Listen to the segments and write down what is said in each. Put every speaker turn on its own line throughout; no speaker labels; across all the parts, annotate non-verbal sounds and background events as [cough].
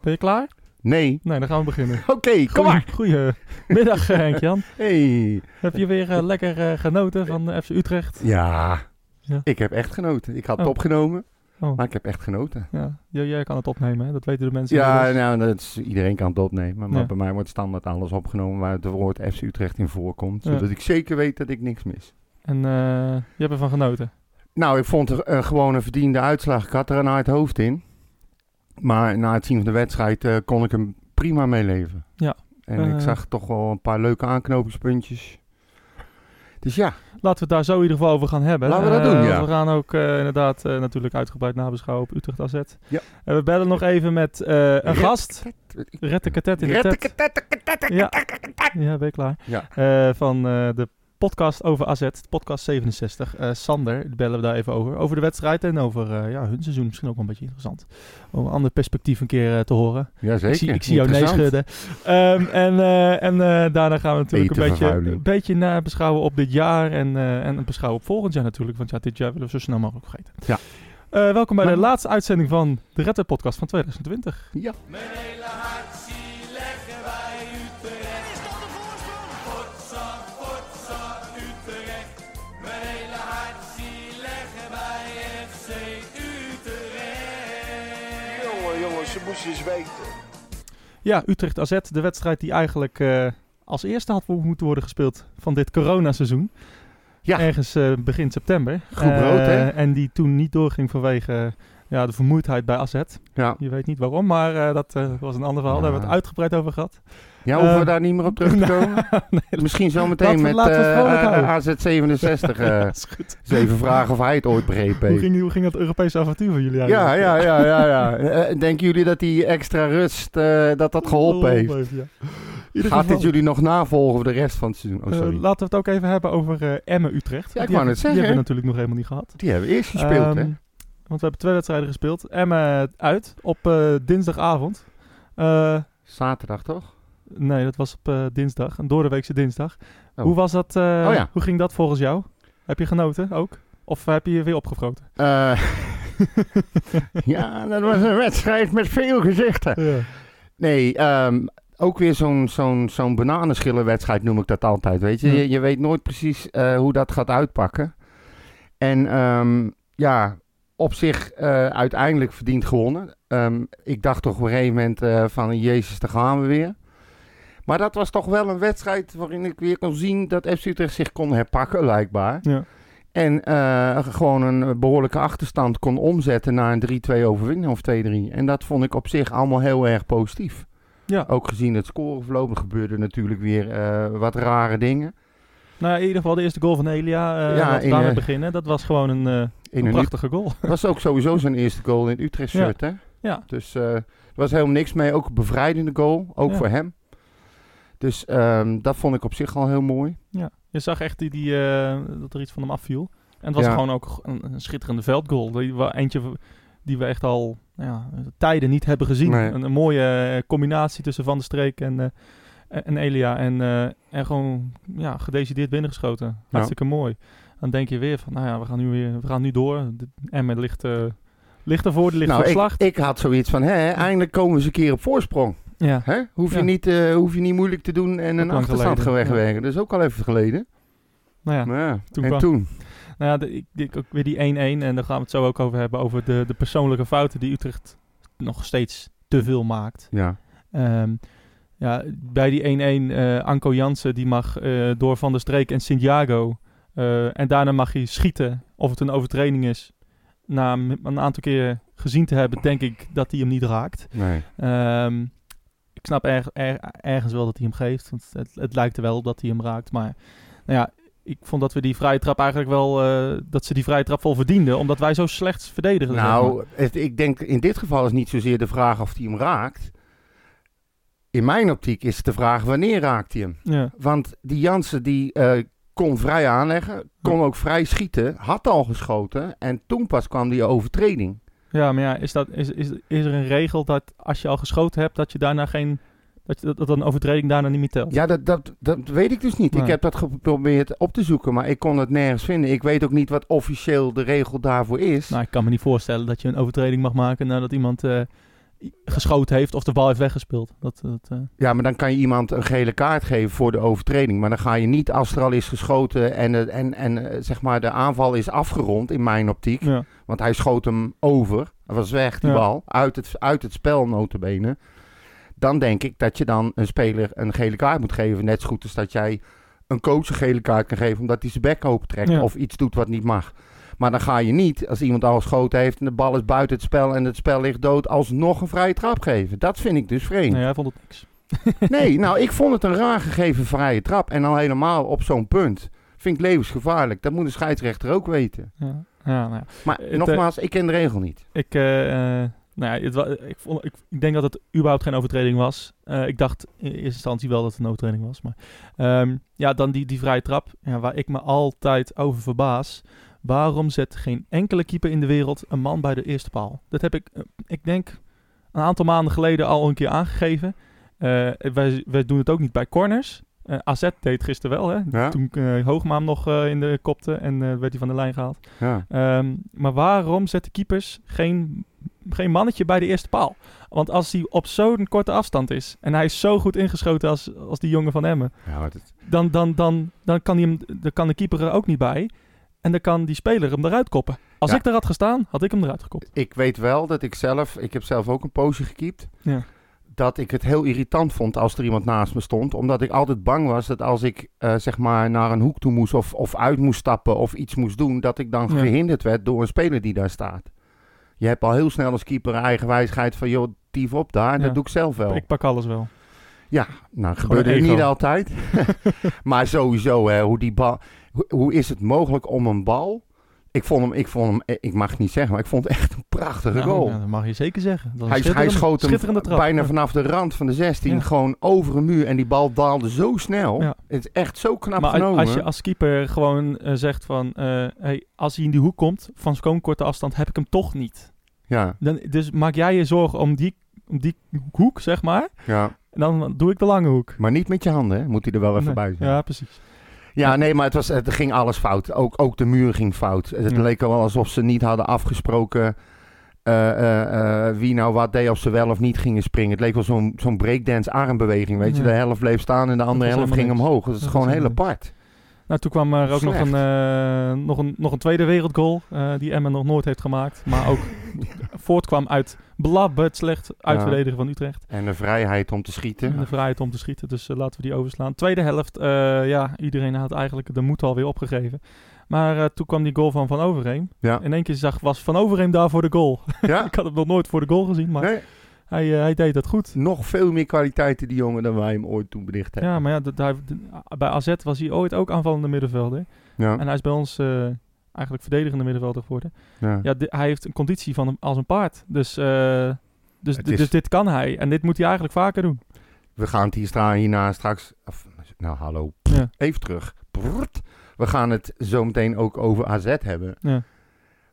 Ben je klaar?
Nee.
Nee, dan gaan we beginnen.
Oké, [laughs] kom maar.
Goedemiddag Henk-Jan.
Hey.
Heb je weer eh, lekker eh, genoten van eh, FC Utrecht?
Ja.
Ja.
Ik heb echt genoten. Ik had het
Oh.
opgenomen,
Oh.
maar ik heb echt genoten.
Ja, jij, jij kan het opnemen, hè? dat weten de mensen.
Ja,
inmiddels.
nou, dat is, iedereen kan het opnemen. Maar
Ja.
bij mij wordt standaard alles opgenomen waar het woord FC Utrecht in voorkomt.
Ja.
Zodat ik zeker weet dat ik niks mis.
En eh, je hebt ervan genoten.
Nou, ik vond er eh, gewoon een verdiende uitslag. Ik had er een hard hoofd in. Maar na het zien van de wedstrijd eh, kon ik hem prima meeleven.
Ja.
En
Eh.
ik zag toch wel een paar leuke aanknopingspuntjes. Dus ja,
Laten we het daar zo in ieder geval over gaan hebben.
Laten we dat
Eh,
doen, ja.
We gaan ook eh, inderdaad eh, natuurlijk uitgebreid nabeschouwen op Utrecht AZ.
Ja.
En we bellen nog even met eh, een
Red-
gast. Red de katet in de tet.
[laughs]
Ja. ja, ben je klaar?
Ja.
Eh, van eh, de podcast over AZ, podcast 67. Eh, Sander, die bellen we daar even over. Over de wedstrijd en over eh, ja, hun seizoen. Misschien ook wel een beetje interessant. Om een ander perspectief een keer eh, te horen.
ja zeker.
Ik zie, ik zie jou nee
Interessant.
schudden. Ehm, en eh, en eh, daarna gaan we natuurlijk een beetje,
Etenvervuiling.
een beetje nabeschouwen op dit jaar. En, eh, en beschouwen op volgend jaar natuurlijk. Want ja, dit jaar willen we zo snel mogelijk vergeten.
Ja.
Eh, welkom bij de
Maar-
laatste uitzending van de Red Bull Podcast van 2020.
Ja.
Mijn hele hart zie leggen wij Utrecht. Is dat de voorsprong? Potsa, potsa, Utrecht. Mijn hele hart zie leggen wij FC Utrecht.
Jongen, jongen, ze moesten eens weten.
Ja, Utrecht AZ, de wedstrijd die eigenlijk eh, als eerste had moeten worden gespeeld van dit coronaseizoen.
Ja.
Ergens eh, begin september.
Groep
Eh,
rood, hè?
En die toen niet doorging vanwege eh, ja, de vermoeidheid bij AZ.
Ja,
Je weet niet waarom, maar eh, dat eh, was een ander verhaal. Daar hebben we het
Ja.
uitgebreid over gehad.
ja hoeven we
Eh,
daar niet meer
[laughs]
op terug te komen?
nee,
Misschien zo
Laten
meteen
we-
met eh,
laten we het vrolijk houden.
AZ67.
[laughs] ja,
eh
is goed.
zeven vragen of hij het ooit begrepen
[laughs] Hoe
heeft.
ging, hoe ging dat Europese avontuur van jullie
Ja,
eigenlijk?
ja,
[laughs]
ja, ja. ja. Eh, denken jullie dat die extra rust, eh, dat dat geholpen heeft?
ja. eh, In ieder
Gaat
geval,
dit jullie nog navolgen voor de rest van het seizoen? Oh,
eh,
sorry.
laten we het ook even hebben over eh Emmen-Utrecht.
Ja, ik
Die hebben-
wou net
Die hebben
zeggen,
we
hè?
natuurlijk nog helemaal niet gehad.
Die hebben we eerst gespeeld, hè?
Ehm, Want we hebben twee wedstrijden gespeeld. Emmen uit op eh, dinsdagavond. Eh,
Zaterdag, toch?
nee, dat was op eh, dinsdag. Een doordeweekse dinsdag.
Oh.
Hoe was dat? eh,
Oh ja.
Hoe ging dat volgens jou? Heb je genoten ook? Of heb je je weer opgefroten?
Eh, [laughs] ja, dat was een wedstrijd met veel gezichten. Nee, ehm, ook weer zo'n zo'n zo'n bananenschillenwedstrijd noem ik dat altijd, weet je.
Ja.
Je, je weet nooit precies eh, hoe dat gaat uitpakken. En ehm, ja, op zich eh, uiteindelijk verdiend gewonnen. Ehm, ik dacht toch op een gegeven moment eh, van, jezus, daar gaan we weer. Maar dat was toch wel een wedstrijd waarin ik weer kon zien dat FC Utrecht zich kon herpakken, lijkbaar.
Ja.
En eh, gewoon een behoorlijke achterstand kon omzetten naar een 3-2 overwinning of 2-3. En dat vond ik op zich allemaal heel erg positief.
ja.
Ook gezien het scoreverloop er gebeurden natuurlijk weer eh, wat rare dingen.
Nou, ja, in ieder geval de eerste goal van Elia. eh
Ja,
laten we
in,
daarmee
eh,
beginnen. Dat was gewoon een, eh,
In
een
een
prachtige goal.
Het was ook sowieso zijn eerste goal in het Utrecht
Ja.
shirt, hè?
Ja.
Dus eh, er was helemaal niks mee. Ook een bevrijdende goal, ook
Ja.
voor hem. Dus ehm, dat vond ik op zich al heel mooi.
Ja. Je zag echt die, die, eh, dat er iets van hem afviel. En het was
Ja.
gewoon ook g- een, een schitterende veldgoal. Die, wa- eentje w- die we echt al nou ja, tijden niet hebben gezien.
Nee.
Een, een mooie eh, combinatie tussen Van der Streek en, eh, en- en Elia. En, eh, en gewoon ja, gedecideerd binnengeschoten. Hartstikke mooi. Dan denk je weer van, nou ja, we gaan nu, weer, we gaan nu door. En met ligt, eh ligt ervoor, die ligt
nou,
voor het
ik,
slacht.
ik had zoiets van, hè, eindelijk komen we eens een keer op voorsprong.
ja.
Hè? Hoef, je
Ja.
niet, eh, hoef je niet moeilijk te doen en een
lang
achterstand gaan
geleden, ja.
wegwerken. Dat is ook al even geleden.
Nou ja,
Maar ja,
toen
en
kwam-
toen.
Nou ja, de- ik, ik, ook weer die 1-1. En daar gaan we het zo ook over hebben. Over de, de persoonlijke fouten die Utrecht nog steeds te veel maakt.
Ja.
Ehm, ja, bij die 1-1, eh, Anko Jansen die mag eh, door Van der Streek en Santiago. eh, en daarna mag hij schieten of het een overtreding is. Na hem een aantal keer gezien te hebben, denk ik dat hij hem niet raakt.
Nee.
Ehm, ik snap erg- er- ergens wel dat hij hem geeft. Want het, het lijkt er wel op dat hij hem raakt. Maar nou ja, ik vond dat we die vrije trap eigenlijk wel. eh, dat ze die vrije trap wel verdienden. Omdat wij zo slecht verdedigen. zeg maar.
Nou, het- ik denk in dit geval is niet zozeer de vraag of hij hem raakt. In mijn optiek is het de vraag wanneer raakt hij hem.
ja.
Want die Jansen die eh, kon vrij aanleggen, kon ook vrij schieten, had al geschoten en toen pas kwam die overtreding.
ja, maar ja, is, dat, is, is, is er een regel dat als je al geschoten hebt. dat je daarna geen. dat, je, dat, dat een overtreding daarna niet meer telt?
Ja, dat, dat, dat weet ik dus niet.
Nee.
Ik heb dat geprobeerd op te zoeken, maar ik kon het nergens vinden. Ik weet ook niet wat officieel de regel daarvoor is.
Nou, ik kan me niet voorstellen dat je een overtreding mag maken. nadat iemand. eh, geschoten heeft of de bal heeft weggespeeld. Dat, dat, eh,
Ja, maar dan kan je iemand een gele kaart geven voor de overtreding. Maar dan ga je niet als er al is geschoten en, eh, en, en eh, zeg maar de aanval is afgerond in mijn optiek.
ja.
Want hij schoot hem over. Dat was weg, die
Ja.
bal. Uit het, uit het spel, notabene. Dan denk ik dat je dan een speler een gele kaart moet geven. Net zo goed als dat jij een coach een gele kaart kan geven... omdat hij zijn bek open trekt
Ja.
of iets doet wat niet mag. Maar dan ga je niet, als iemand al geschoten heeft... en de bal is buiten het spel en het spel ligt dood... alsnog een vrije trap geven. Dat vind ik dus vreemd.
Nee, hij vond het niks. [laughs]
Nee, nou, ik vond het een raar gegeven vrije trap. En al helemaal op zo'n punt. Vind ik levensgevaarlijk. Dat moet de scheidsrechter ook weten.
Ja, ja, nou ja.
Maar
Het, eh,
nogmaals, ik ken de regel niet.
Ik, eh, eh, nou ja, het wa- ik, vond, ik, ik denk dat het überhaupt geen overtreding was. Eh, ik dacht in eerste instantie wel dat het een overtreding was. Maar ehm, ja, dan die, die vrije trap. Ja, waar ik me altijd over verbaas. Waarom zet geen enkele keeper in de wereld een man bij de eerste paal? Dat heb ik, eh, ik denk, een aantal maanden geleden al een keer aangegeven. Eh, wij, wij doen het ook niet bij corners. Eh, AZ deed het gisteren wel, hè?
Ja.
Toen eh Hoogma hem nog eh, in de kopte en eh, werd hij van de lijn gehaald.
Ja.
Ehm, maar waarom zet de keepers geen, geen mannetje bij de eerste paal? Want als hij op zo'n korte afstand is en hij is zo goed ingeschoten als, als die jongen van Emmen,
Ja, maar dat-
dan, dan, dan, dan, kan hij hem, dan kan de keeper er ook niet bij. En dan kan die speler hem eruit koppen. Als
Ja.
ik daar had gestaan, had ik hem eruit gekopt.
ik weet wel dat ik zelf, ik heb zelf ook een poosje gekiept.
Ja.
Dat ik het heel irritant vond als er iemand naast me stond. Omdat ik altijd bang was dat als ik eh, zeg maar naar een hoek toe moest of, of uit moest stappen of iets moest doen, dat ik dan
Ja.
gehinderd werd door een speler die daar staat. Je hebt al heel snel als keeper een eigen wijsheid van joh, tief op daar,
Ja.
dat doe ik zelf wel.
Ik pak alles wel.
Nou, gebeurde
een
het
ego.
niet [laughs] altijd. maar sowieso, hè, hoe, die bal, hoe, hoe is het mogelijk om een bal... Ik vond hem, ik vond hem, eh, ik mag het niet zeggen, maar ik vond het echt een prachtige
Nou,
goal.
nou, dat mag je zeker zeggen. Dat is
hij, hij
schitterend-
schoot hem
schitterende trap.
bijna
Ja.
vanaf de rand van de 16,
Ja.
gewoon over een muur. En die bal daalde zo snel.
Ja.
Het is echt zo knap
Maar als-
genomen.
als je als keeper gewoon eh, zegt van... eh, hey, als hij in die hoek komt, van zo'n korte afstand, heb ik hem toch niet.
Ja,
Dan, dus maak jij je zorgen om die, om die hoek, zeg maar.
ja,
En dan doe ik de lange hoek.
maar niet met je handen, hè. moet hij er wel even
Nee.
bij zijn.
Ja, precies.
Ja, nee, maar het, was, het ging alles fout. Ook, ook de muur ging fout. Het
Ja.
leek wel alsof ze niet hadden afgesproken eh, eh, eh, wie nou wat deed, of ze wel of niet gingen springen. Het leek wel zo'n zo'n breakdance armbeweging, weet je.
Ja.
De helft bleef staan en de andere
was
helft ging
helemaal niks.
omhoog. Dat is
Dat was
gewoon heel
helemaal
apart.
Nou, toen kwam er ook nog
Slecht.
een, eh, nog, een, nog een tweede wereldgoal. eh, die Emmen nog nooit heeft gemaakt. Maar
[laughs]
ook voortkwam uit blabbert slecht uitverdedigen van Utrecht.
En de vrijheid om te schieten.
En de vrijheid om te schieten. Dus eh, laten we die overslaan. Tweede helft, eh, ja, iedereen had eigenlijk de moed alweer opgegeven. Maar eh, toen kwam die goal van Van Overheem. [laughs]
Ja.
In één keer zag, was Van Overheem daar voor de goal. [laughs]
Ja?
Ik had hem nog nooit voor de goal gezien, maar
Nee,
hij, eh, hij deed dat goed.
nog veel meer kwaliteiten die jongen dan wij hem ooit toen bedicht hebben.
Ja, maar ja, dat- daar, d- bij AZ was hij ooit ook aanvallende middenvelder.
Ja.
En hij is bij ons eh, eigenlijk verdedigende middenvelder geworden.
ja.
Ja, di- hij heeft een conditie van een, als een paard. Dus, eh, dus,
Het
di-
is-
dus dit kan hij. En dit moet hij eigenlijk vaker doen.
We gaan het hier stra- hierna straks. Of, nou, hallo.
Ja.
Even terug. Prrrt. We gaan het zo meteen ook over AZ hebben.
Ja.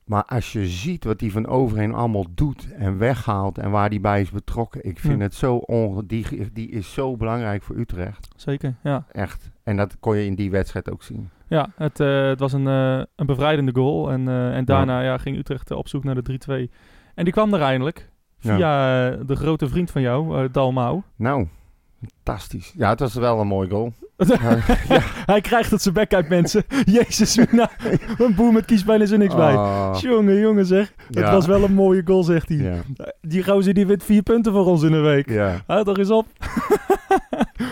Maar als je ziet wat die van overheen allemaal doet en weghaalt en waar die bij is betrokken, ik vind
Ja.
het zo onge... Die, die is zo belangrijk voor Utrecht.
Zeker, ja.
Echt. En dat kon je in die wedstrijd ook zien.
Ja, het, eh, het was een, eh, een bevrijdende goal. En, eh, en daarna ja. ging Utrecht eh, op zoek naar de 3-2. En die kwam er eindelijk.
Ja.
Via eh, de grote vriend van jou, eh Dalmau.
Nou, fantastisch. Ja, het was wel een mooi goal.
[laughs] Hij krijgt het zijn bek uit,
[laughs]
mensen. Jezus, Mina. een boer met kiespijn is er niks bij.
Oh,
Jongen, jongen zeg. Het
ja.
was wel een mooie goal, zegt hij.
Ja.
Die gozer die wint vier punten voor ons in een week.
ja.
Houd toch eens op.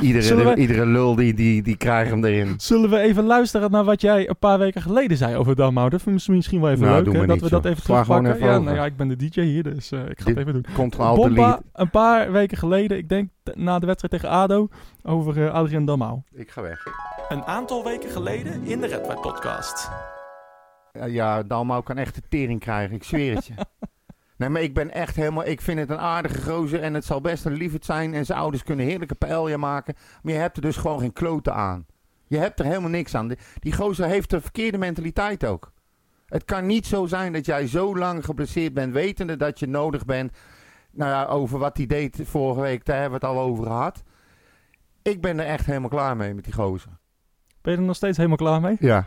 Iedere,
Zullen wij-
iedere lul die, die, die krijgt hem erin.
Zullen we even luisteren naar wat jij een paar weken geleden zei over Damhouder? Dat is misschien wel even
Nou,
leuk
doe
hè,
maar
dat
niet,
we dat
joh.
even
Sla gewoon
terugpakken.
even
ja,
over.
nou ja, ik ben de DJ hier, dus eh, ik ga
Dit-
het even doen.
Control delete.
Bomba, een paar weken geleden, ik denk t- na de wedstrijd tegen ADO, over eh, Adriaan Damhouw.
Ik ga weg.
Een aantal weken geleden in de Red White Podcast.
Ja, ja, Dalmau kan echt de tering krijgen, ik zweer het je. Nee, maar ik ben echt helemaal... Ik vind het een aardige gozer en het zal best een lieverd zijn. En zijn ouders kunnen heerlijke paella maken. Maar je hebt er dus gewoon geen kloten aan. Je hebt er helemaal niks aan. Die, die gozer heeft de verkeerde mentaliteit ook. Het kan niet zo zijn dat jij zo lang geblesseerd bent... wetende dat je nodig bent. Nou ja, over wat hij deed vorige week, daar hebben we het al over gehad. Ik ben er echt helemaal klaar mee met die gozer.
Ben je er nog steeds helemaal klaar mee? [laughs]
Ja,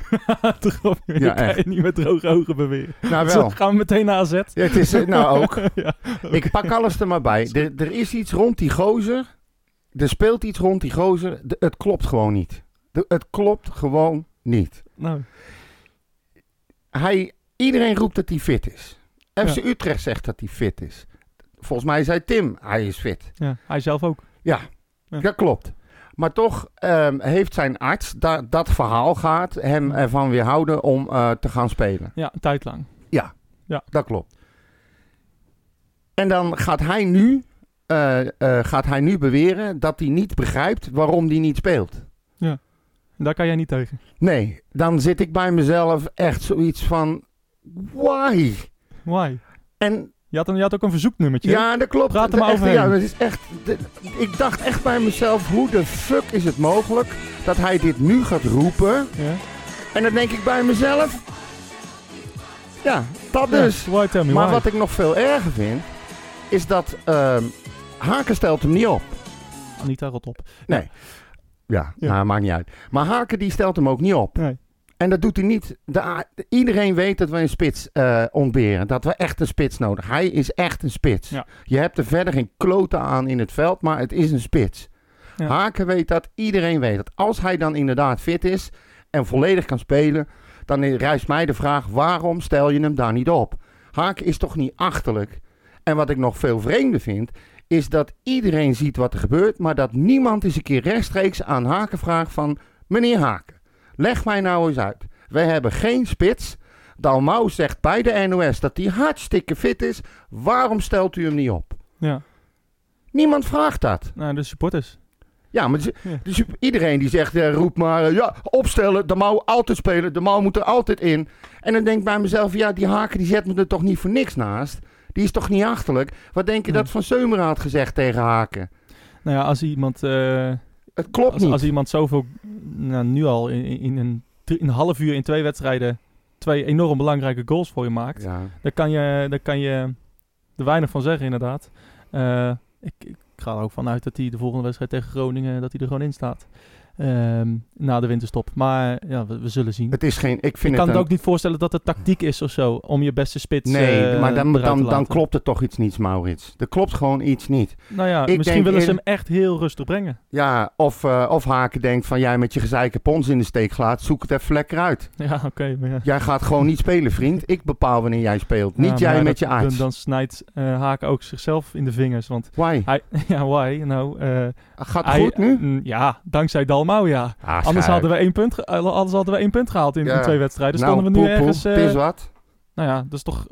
Toch op, je
Ja,
kan je
echt.
niet met droge ogen beweren.
nou
Zo, [laughs]
wel.
gaan we meteen naar AZ.
Ja, het is, eh, nou ook.
[laughs] ja.
Ik pak alles er maar bij. Er, er is iets rond die gozer. Er speelt iets rond die gozer. De- het klopt gewoon niet. De- het klopt gewoon niet.
Nou,
Hij, iedereen roept dat hij fit is. FC
Ja.
Utrecht zegt dat hij fit is. Volgens mij zei Tim, hij is fit.
ja, hij zelf ook. Ja.
Dat klopt. Maar toch ehm, heeft zijn arts da- dat verhaal gaat hem ervan weerhouden om eh, te gaan spelen.
Ja, een tijd lang.
Dat klopt. En dan gaat hij nu, eh, eh, gaat hij nu beweren dat hij niet begrijpt waarom hij niet speelt.
En daar kan jij niet tegen.
Nee, dan zit ik bij mezelf echt zoiets van, why?
Why?
En
Je had, een, je had ook een verzoeknummertje.
ja, dat klopt.
Praat er maar
Echt,
overheen.
Ja, dat is echt, dat- ik dacht echt bij mezelf, hoe de fuck is het mogelijk dat hij dit nu gaat roepen?
Ja?
En dan denk ik bij mezelf. Ja, dat
Ja,
dus.
why tell me
Maar
why?
wat ik nog veel erger vind, is dat ehm Haken stelt hem niet op.
Anita, rot op.
Ja,
Ja.
nou, maakt niet uit. Maar Haken die stelt hem ook niet op.
Nee.
En dat doet hij niet. De- iedereen weet dat we een spits eh, ontberen. Dat we echt een spits nodig Hij is echt een spits.
Ja.
Je hebt er verder geen kloten aan in het veld, maar het is een spits.
Ja.
Haken weet dat, iedereen weet dat. Als hij dan inderdaad fit is en volledig kan spelen, dan rijst mij de vraag: waarom stel je hem daar niet op? Haken is toch niet achterlijk? En wat ik nog veel vreemder vind, is dat iedereen ziet wat er gebeurt, maar dat niemand eens een keer rechtstreeks aan Haken vraagt van... Meneer Haken, leg mij nou eens uit. Wij hebben geen spits. Dalmau zegt bij de NOS dat hij hartstikke fit is. Waarom stelt u hem niet op?
Ja,
Niemand vraagt dat.
nou, de supporters.
Ja, maar ze-
Ja.
dus iedereen die zegt, eh, roep maar, eh, ja, opstellen, de mouw altijd spelen, de mouw moet er altijd in. En dan denk ik bij mezelf, ja, die haken die zet me er toch niet voor niks naast? Die is toch niet achterlijk? Wat denk je
Nee.
dat Van Seumeren had gezegd tegen haken?
Nou ja, als iemand, eh,
Het klopt
als,
niet.
als iemand zoveel, nou, nu al in, in, in een, drie- in een half uur in twee wedstrijden twee enorm belangrijke goals voor je maakt,
Ja.
daar, kan je, daar kan je er weinig van zeggen inderdaad. Eh, ik, ik ga er ook vanuit dat hij de volgende wedstrijd tegen Groningen dat hij er gewoon in staat. Ehm, na de winterstop. Maar ja, we, we zullen zien.
Het is geen, ik vind
ik kan
het
me
een-
ook niet voorstellen dat het tactiek is of zo. Om je beste spits
Nee,
eh,
maar dan,
eruit te
dan, dan
laten.
klopt er toch iets niet, Maurits. Er klopt gewoon iets niet.
Nou ja,
Ik
misschien
denk
willen ze hem
eerder-
echt heel rustig brengen.
Ja, of, eh, of Haken denkt van jij met je gezeike pons in de steek slaat, zoek het even lekker uit.
[laughs] Ja, oké. maar ja.
Jij gaat gewoon niet spelen, vriend. Ik bepaal wanneer jij speelt. Niet
Ja, maar
jij
ja,
met je
dat-
arts.
Dan, dan snijdt eh Haken ook zichzelf in de vingers. Want
Why?
hij, [laughs] ja, why? Nou, eh,
Gaat het
hij-
goed nu? Ah,
mm, ja, dankzij Dalmau, ja. Anders hadden, we één punt ge- eh, anders hadden we één punt gehaald in
Ja.
die twee wedstrijden.
nou,
Stonden we nu
poepoe,
ergens... eh,
het is wat.
nou ja, dat is toch...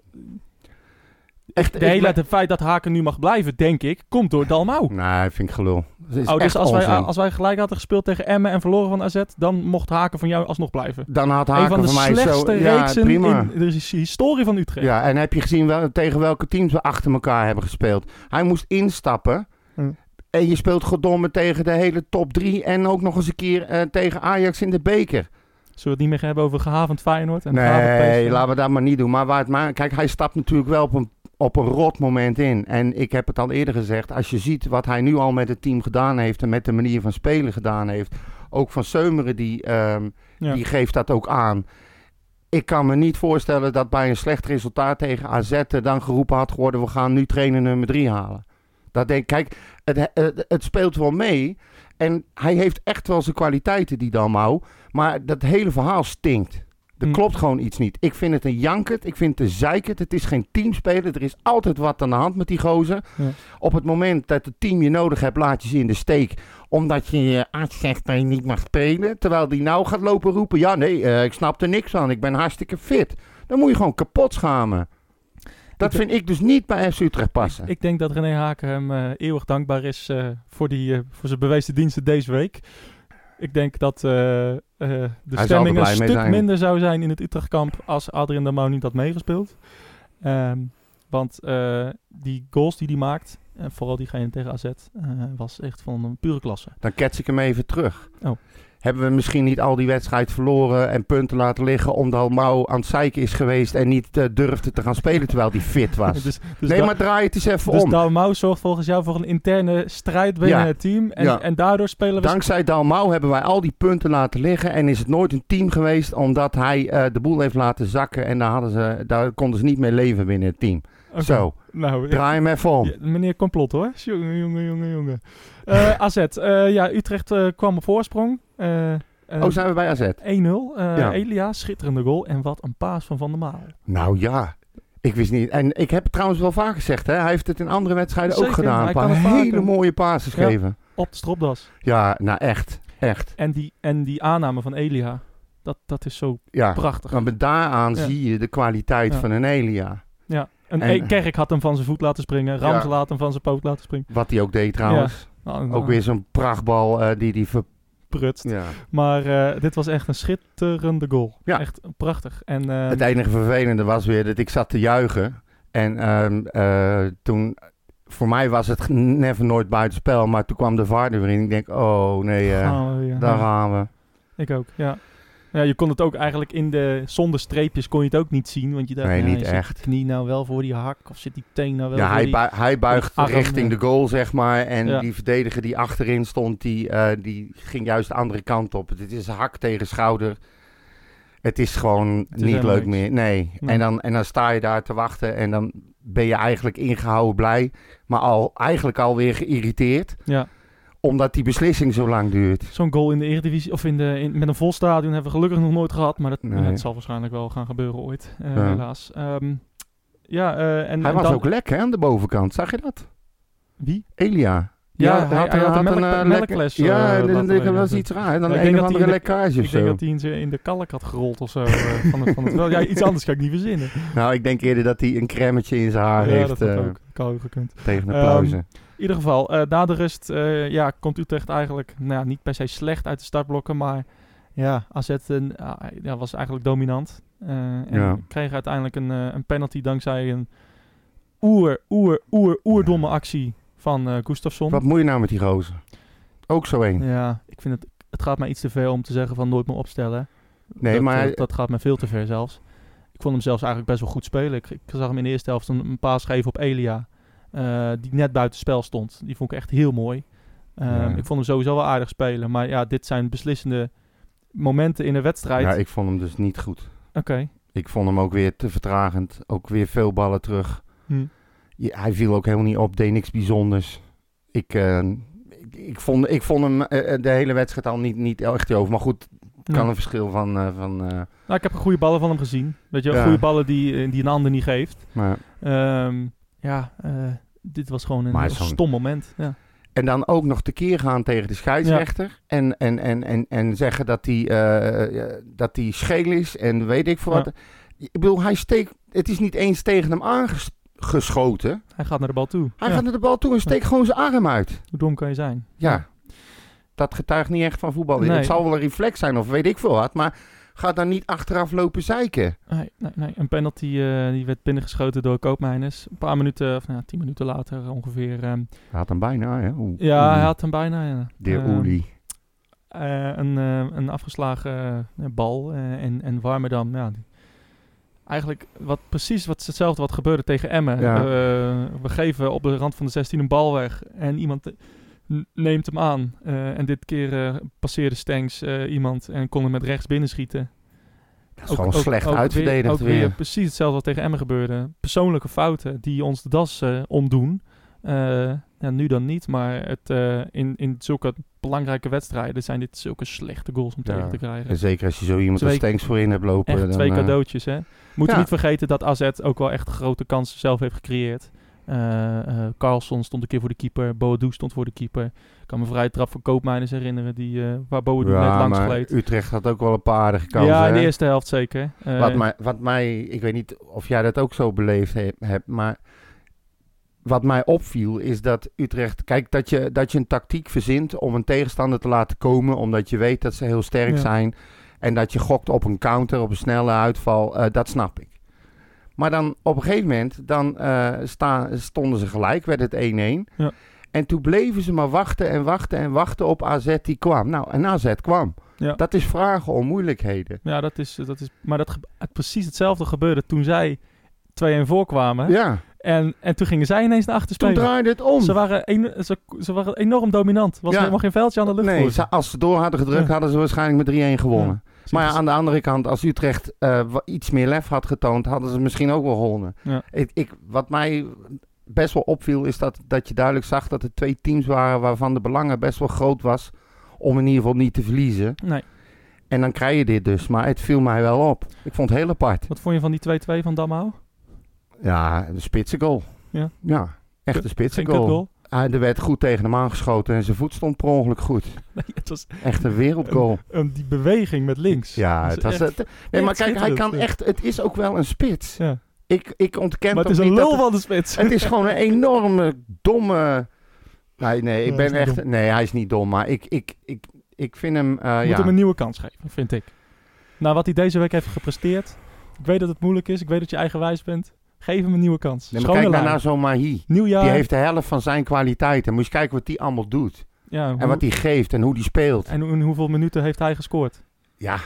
Echt,
De hele, het feit dat Haken nu mag blijven, denk ik, komt door Dalmau.
Nee, vind ik gelul. Het is
oh,
echt
dus als wij,
onzin.
als wij gelijk hadden gespeeld tegen Emmen en verloren van AZ, dan mocht Haken van jou alsnog blijven.
Dan had
een
Haken
van de
voor mij
slechtste
zo... Ja,
reeksen
prima.
in de his- historie van Utrecht.
Ja, en heb je gezien wel, tegen welke teams we achter elkaar hebben gespeeld? Hij moest instappen.
Hm.
En je speelt goddomme tegen de hele top 3 en ook nog eens een keer eh, tegen Ajax in de beker.
Zullen we het niet meer hebben over gehavend Feyenoord? En gehavend
Nee,
PSV?
laten we dat maar niet doen. Maar waar het maar, kijk, hij stapt natuurlijk wel op een, op een rot moment in. En ik heb het al eerder gezegd, als je ziet wat hij nu al met het team gedaan heeft en met de manier van spelen gedaan heeft. Ook van Seumeren, die, ehm,
Ja.
die geeft dat ook aan. Ik kan me niet voorstellen dat bij een slecht resultaat tegen AZ er dan geroepen had geworden, we gaan nu trainer nummer 3 halen. Dat denk, kijk, het, het, het speelt wel mee. En hij heeft echt wel zijn kwaliteiten, die Dalmau. Maar dat hele verhaal stinkt. Er
Mm.
klopt gewoon iets niet. Ik vind het een jankert. Ik vind het een zeikert. Het is geen teamspeler. Er is altijd wat aan de hand met die gozer.
Ja.
Op het moment dat het team je nodig hebt, laat je ze in de steek. Omdat je je arts zegt dat je niet mag spelen. Terwijl die nou gaat lopen roepen. Ja, nee, eh, ik snap er niks van. Ik ben hartstikke fit. Dan moet je gewoon kapot schamen. Dat
Ik-
vind ik dus niet bij FC Utrecht passen.
Ik denk dat René Haken hem eh, eeuwig dankbaar is eh, voor, die, eh, voor zijn bewezen diensten deze week. Ik denk dat eh, eh, de
er
stemming een
blij mee
stuk
zijn.
minder zou zijn in het Utrechtkamp als Adrien Damau niet had meegespeeld. Ehm, want eh, die goals die hij maakt, En vooral diegene tegen AZ eh, was echt van een pure klasse.
Dan kets ik hem even terug.
Oh.
Hebben we misschien niet al die wedstrijd verloren en punten laten liggen omdat Mau aan het zeiken is geweest en niet eh, durfde te gaan spelen terwijl hij fit was?
[laughs] Dus, dus
nee,
da-
maar draai het eens even
dus
om.
Dalmau zorgt volgens jou voor een interne strijd binnen
Ja.
het team. En,
Ja.
en daardoor spelen we...
Dankzij Dalmau hebben wij al die punten laten liggen en is het nooit een team geweest omdat hij eh, de boel heeft laten zakken en daar, hadden ze, daar konden ze niet mee leven binnen het team.
Oké.
Zo,
Nou, ik-
draai hem even om.
Ja, meneer Complot hoor. Jongen, jongen, jongen, jongen. Eh, AZ, eh, ja, Utrecht eh, kwam op voorsprong. Eh, eh,
Oh, zijn we bij AZ?
1-0. eh,
Ja.
Elia, schitterende goal. En wat een paas van Van der Maal.
Nou ja, ik wist niet. En ik heb het trouwens wel vaak gezegd, hè? hij heeft het in andere wedstrijden ook
Zeker,
gedaan.
hij
Een paar
kan het vaker.
hele mooie passes
Ja.
geven.
Op de stropdas.
Ja, nou echt, echt.
En die, en die aanname van Elia. Dat, dat is zo
Ja,
prachtig.
want met daaraan
Ja.
zie je de kwaliteit
Ja.
van een Elia.
Ja. En,
En-
eh, Kerk had hem van zijn voet laten springen. Rams
Ja.
laat hem van zijn poot laten springen.
Wat hij ook deed trouwens.
Nou, nou,
Ook weer zo'n prachtbal eh, die die ver...
prutst.
Ja.
Maar eh, dit was echt een schitterende goal.
Ja.
Echt prachtig. En, eh,
Het enige vervelende was weer dat ik zat te juichen. En ehm, eh, toen, voor mij was het never nooit buitenspel. Maar toen kwam de VAR er weer in. Ik denk, oh nee, eh,
gaan we weer.
daar
Ja.
gaan we.
Ik ook, ja. Ja, je kon het ook eigenlijk in de... Zonder streepjes kon je het ook niet zien. Want je dacht,
Nee,
ja,
niet
zit die
echt.
knie nou wel voor die hak? Of zit die teen nou wel
Ja,
voor
hij,
die...
bui- hij buigt
arm,
richting
ja.
de goal, zeg maar. En
Ja.
die verdediger die achterin stond, die, eh, die ging juist de andere kant op. Het is hak tegen schouder. Het is gewoon
is
niet
helemaal
leuk
niks.
meer. Nee.
Nee.
En, dan, en dan sta je daar te wachten en dan ben je eigenlijk ingehouden blij. Maar al, eigenlijk alweer geïrriteerd,
Ja,
omdat die beslissing zo lang duurt.
zo'n goal in de Eredivisie... Of in de, in- met een vol stadion hebben we gelukkig nog nooit gehad. Maar dat,
Nee.
dat zal waarschijnlijk wel gaan gebeuren ooit. eh,
Ja.
Helaas. Ehm, ja, eh, en,
hij
en
was
dan-
ook lek hè, aan de bovenkant, zag je dat?
Wie?
Elia.
Ja, hij- hij had een melk-
eh,
melkles, eh,
Ja, en- en-
laten
en-
we-
dat was iets raar. En dan
Ja, ik
een
denk
of
dat
andere
hij in
lekkage of
Ik denk
zo.
dat hij in, zijn- in de kalk had gerold of zo. eh, van, het- van het, wel, ja, iets anders kan ik niet verzinnen.
Nou, ik denk eerder dat hij een cremmetje in zijn haar
ja,
heeft
dat had
eh,
ook. Kan ook gekund.
tegen de
Ehm,
pauze.
In ieder geval, eh, na de rust eh, ja, komt Utrecht eigenlijk nou, ja, niet per se slecht uit de startblokken. Maar ja, AZ en, ah, ja, was eigenlijk dominant. Eh, en
Ja.
kreeg uiteindelijk een, eh, een penalty dankzij een oer, oer, oer, oerdomme actie van eh Gustafsson.
Wat moet je nou met die rozen? Ook zo één.
Ja, ik vind het, het gaat mij iets te ver om te zeggen van nooit meer opstellen.
Nee,
dat,
maar-
eh, dat gaat mij veel te ver zelfs. Ik vond hem zelfs eigenlijk best wel goed spelen. Ik, ik zag hem in de eerste helft een, een paas geven op Elia. eh, die net buiten spel stond. Die vond ik echt heel mooi. Ehm,
Ja.
Ik vond hem sowieso wel aardig spelen. Maar ja, dit zijn beslissende momenten in een wedstrijd.
Ja, ik vond hem dus niet goed.
Oké.
Ik vond hem ook weer te vertragend. Ook weer veel ballen terug.
Hm.
Je- hij viel ook helemaal niet op, deed niks bijzonders. Ik, eh, ik, ik vond, ik vond hem eh, eh, de hele wedstrijd al niet, niet echt over. Maar goed, het kan
Ja.
een verschil van... eh, van eh,
Nou, ik heb goede ballen van hem gezien. Weet je, wel,
Ja.
goede ballen die, eh, die een ander niet geeft.
maar...
Ehm, ja, eh, dit was gewoon een
Maar
heel
zo'n-
stom moment. Ja.
En dan ook nog tekeer gaan tegen de scheidsrechter. En, en, en, en, en zeggen dat hij eh, eh, dat die scheel is en weet ik veel
Ja.
wat. Ik bedoel, hij steekt. Het is niet eens tegen hem aangeschoten.
Hij gaat naar de bal toe.
Hij
Ja,
gaat naar de bal toe en steekt gewoon zijn arm uit.
Hoe dom kan je zijn?
Ja, dat getuigt niet echt van voetbal.
Nee.
Het zal wel een reflex zijn of weet ik veel wat. Maar ga dan niet achteraf lopen zeiken.
Nee, nee, nee. Een penalty eh, die werd binnengeschoten door Koopmeiners. Een paar minuten, of nou, ja, tien minuten later ongeveer. ehm,
Hij had hem bijna, hè? Oeh,
ja,
oeh.
hij had hem bijna. Ja.
De
Ehm,
Oeli.
eh, een, eh, een afgeslagen eh, bal eh, en, en Warmerdam. Ja, die- eigenlijk wat, precies wat, hetzelfde wat gebeurde tegen Emmen.
Ja.
Eh, we geven op de rand van de 16 een bal weg en iemand eh, n- neemt hem aan. Eh, en dit keer eh, passeerde Stengs eh, iemand en kon hem met rechts binnenschieten.
Dat is gewoon slecht uitverdedigd
Weer, ook weer.
weer.
precies hetzelfde wat tegen Emmen gebeurde. Persoonlijke fouten die ons de das eh, omdoen. Eh, ja, nu dan niet, maar het, eh, in, in zulke belangrijke wedstrijden zijn dit zulke slechte goals om
Ja.
tegen te krijgen.
En zeker als je zo iemand
Twee-
als Stenks voorin hebt lopen.
Echt
dan,
twee
eh,
cadeautjes, hè. Moeten
ja.
niet vergeten dat AZ ook wel echt grote kansen zelf heeft gecreëerd. Eh, eh, Carlson stond een keer voor de keeper. Boadu stond voor de keeper. Ik kan me een vrije trap van Koopmeiners herinneren, die, eh, waar Boadu net langs
maar
gleed.
Utrecht had ook wel een paar aardige kansen.
Ja, in de
hè?
eerste helft zeker. Eh,
Wat, mij, wat mij, ik weet niet of jij dat ook zo beleefd he- hebt, maar wat mij opviel is dat Utrecht, kijk, dat je, dat je een tactiek verzint om een tegenstander te laten komen, omdat je weet dat ze heel sterk
Ja.
zijn en dat je gokt op een counter, op een snelle uitval, eh, dat snap ik. Maar dan op een gegeven moment dan, eh, sta, stonden ze gelijk, werd het 1-1.
Ja.
En toen bleven ze maar wachten en wachten en wachten op AZ die kwam. Nou, en AZ kwam.
Ja.
Dat is vragen om moeilijkheden.
Ja, dat is, eh, dat is, maar dat, ge- het- precies hetzelfde gebeurde toen zij 2-1 voorkwamen.
Ja,
En, en toen gingen zij ineens naar achter
toen
spelen.
draaide het om.
Ze waren, en- ze, ze waren enorm dominant. Er was
Ja.
helemaal geen veldje aan de lucht.
nee,
voor ze.
ze- als ze door hadden gedrukt,
Ja.
hadden ze waarschijnlijk met 3-1 gewonnen.
Ze-
Maar ja, aan de andere kant, als Utrecht eh, wa- iets meer lef had getoond, hadden ze misschien ook wel gewonnen.
Ja.
Ik, ik, wat mij best wel opviel, is dat, dat je duidelijk zag dat er twee teams waren waarvan de belangen best wel groot was om in ieder geval niet te verliezen.
Nee.
En dan krijg je dit dus, maar het viel mij wel op. Ik vond het heel apart.
Wat vond je van die 2-2 van Damau?
Ja, een spitsengoal.
Ja.
ja echt een
Geen
spitsengoal.
kutgoal. [laughs]
Hij er werd goed tegen hem aangeschoten en zijn voet stond per ongeluk goed.
Nee, het was
Echt een wereldgoal.
ehm, die beweging met links.
Ja,
Dat is
het was
echt-
het- Nee, maar
echt
kijk, hij
schitterend, eh.
kan
ja.
echt. Het is ook wel een spits.
Ja.
Ik, ik ontken
Maar
ook
het is een
niet
lul
dat
van de spits. [laughs]
het, het is gewoon een enorme domme. Nee, nee, ik
hij is
ben
niet
echt. Nee, hij is niet dom, maar ik, ik, ik, ik vind hem. eh,
Moet
ja.
hem een nieuwe kans geven, vind ik. Na wat hij deze week heeft gepresteerd. Ik weet dat het moeilijk is. Ik weet dat je eigenwijs bent. Geef hem een nieuwe kans.
Nee, maar
Schone
kijk
lijn.
nou naar zo'n Mahi.
Nieuw jaar.
Die heeft de helft van zijn kwaliteiten. Moet je kijken wat die allemaal doet.
ja, hoe-
En wat die geeft en hoe die speelt.
en hoe- in hoeveel minuten heeft hij gescoord?
Ja,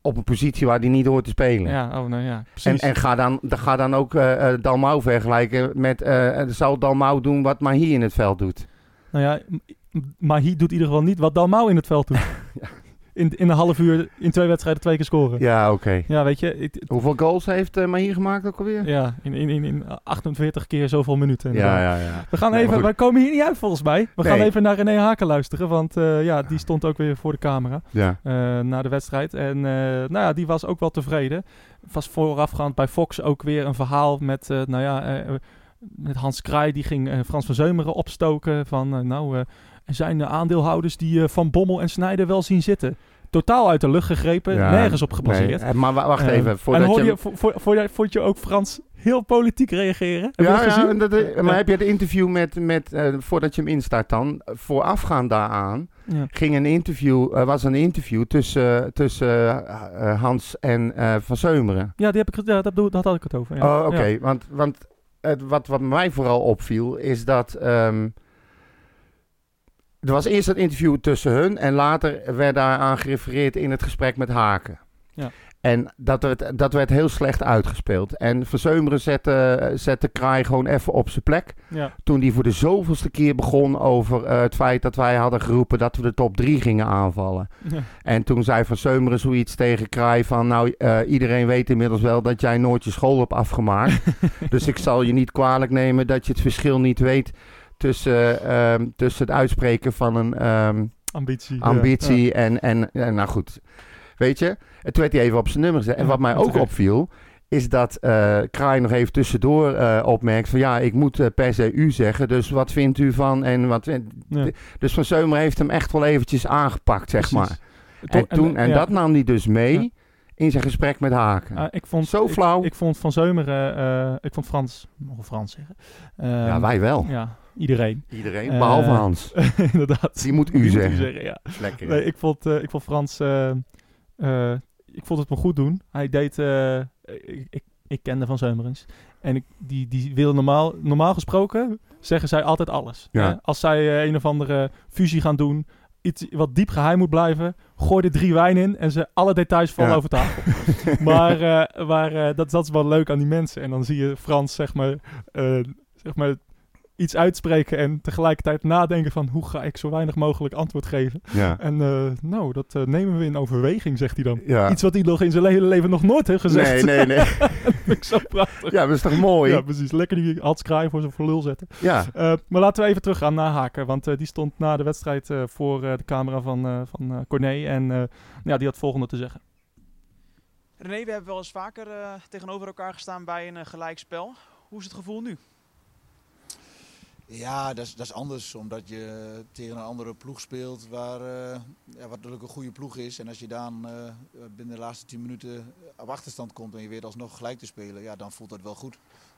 op een positie waar die niet hoort te spelen.
Ja, oh, nou ja.
En,
Precies.
en ga, dan, dan- ga dan ook eh eh, Dalmau vergelijken met... eh eh, zou Dalmau doen wat Mahi in het veld doet?
Nou ja, m- m- maar hij doet in ieder geval niet wat Dalmau in het veld
[laughs]
doet. in, in een half uur, in twee wedstrijden, twee keer scoren. Ja,
Ja, oké.
weet je. ik-
Hoeveel goals heeft eh, Mahi gemaakt ook alweer?
ja, in, in, in, in 48 keer zoveel minuten.
ja, ja. ja.
We gaan
Nee, maar
even,
goed.
wij komen hier niet uit volgens mij. We
Nee.
gaan even naar René Haken luisteren, want eh, ja, die stond ook weer voor de camera
Ja.
eh, na de wedstrijd. En eh, nou ja, die was ook wel tevreden. Was voorafgaand bij Fox ook weer een verhaal met, eh, nou ja, eh, met Hans Kraai. Die ging eh, Frans van Zeumeren opstoken van, eh, nou, eh, er zijn eh, aandeelhouders die eh, Van Bommel en Snijder wel zien zitten. Totaal uit de lucht gegrepen,
Ja,
nergens op gebaseerd.
Nee, eh, maar wa- wacht
Eh,
even.
en
Voordat
hoorde
je...
je, vo- vo- vo- vond je ook Frans heel politiek reageren? Heb je
ja,
dat gezien?
ja en dat, eh, maar
Ja.
heb je het interview met, met eh, voordat je hem instart dan, eh, voorafgaand daaraan,
Ja.
ging een interview, eh, was een interview tussen, eh, tussen eh, eh, Hans en eh, Van Zeumeren.
Ja, die heb ik, ge- ja dat, bedoel, dat had ik het over. Ja.
oh, oké,
Ja.
want, want het, wat, wat mij vooral opviel is dat, ehm, er was eerst dat interview tussen hun en later werd daaraan gerefereerd in het gesprek met Haken.
Ja.
En dat werd, dat werd heel slecht uitgespeeld. En Van Zeumeren zette, zette Kraai gewoon even op zijn plek.
Ja. [laughs]
toen die voor de zoveelste keer begon over eh, het feit dat wij hadden geroepen dat we de top 3 gingen aanvallen.
Ja.
En toen zei Van Seumeren zoiets tegen Kraai van, nou eh, iedereen weet inmiddels wel dat jij nooit je school hebt
[laughs]
afgemaakt. dus ik zal je niet kwalijk nemen dat je het verschil niet weet tussen, ehm, tussen het uitspreken van een ehm,
Ambitie. ja.
ambitie en, en, en, nou goed, weet je. En toen werd hij even op zijn nummer gezet. En
Ja,
wat mij
dat
ook
ook.
opviel, is dat eh Kraai nog even tussendoor eh, opmerkt van ja, ik moet eh, per se u zeggen, dus wat vindt u van en wat... vindt-
Ja.
Dus Van Zeumer heeft hem echt wel eventjes aangepakt, zeg
Precies.
maar.
To-
En, toen, en
ja.
dat nam hij dus mee
Ja.
in zijn gesprek met Haken.
Ah, ik vond,
Zo
ik-
flauw.
Ik, vond Van Zeumeren, eh, ik vond Frans, mogen we Frans zeggen. Ehm,
ja, wij
[laughs]
wel.
Ja, iedereen.
Iedereen,
Eh,
behalve
[laughs]
Hans.
Inderdaad.
Die moet
Die
u
moet
zeggen.
ja.
Lekker.
Nee, ik, vond, eh, ik vond Frans, eh, eh, ik vond het me goed doen. Hij deed, eh, ik, ik, ik kende Van Zeumerens. En ik, die, die wil normaal, normaal gesproken, zeggen zij altijd alles.
Ja.
hè? Als zij eh, een of andere fusie gaan doen, iets wat diep geheim moet blijven, gooi er drie wijn in en ze alle details vallen
Ja.
over tafel. maar eh, maar eh, dat, dat is wel leuk aan die mensen. En dan zie je Frans, zeg maar, eh, zeg maar iets uitspreken en tegelijkertijd nadenken van hoe ga ik zo weinig mogelijk antwoord geven.
ja.
En eh, nou, dat eh, nemen we in overweging, zegt hij dan.
Ja.
Iets wat hij nog in zijn hele leven nog nooit heeft gezegd. [laughs]
Nee, nee, nee.
Vind ik zo prachtig.
Ja, dat is toch mooi?
Ja,
Ja.
precies. Lekker die Hans Kraai voor zijn voor lul zetten. Eh, maar laten we even teruggaan naar Haken. Want eh, die stond na de wedstrijd eh, voor eh, de camera van, eh van eh, Corné. En eh, ja, die had het volgende te zeggen.
René, we hebben wel eens vaker eh, tegenover elkaar gestaan bij een eh, gelijkspel. Hoe is het gevoel nu?
Ja, dat is, dat is anders, omdat je tegen een andere ploeg speelt waar, eh, ja, wat natuurlijk een goede ploeg is. En als je dan eh, binnen de laatste 10 minuten eh, op achterstand komt en je weet alsnog gelijk te spelen, ja, dan voelt dat wel goed.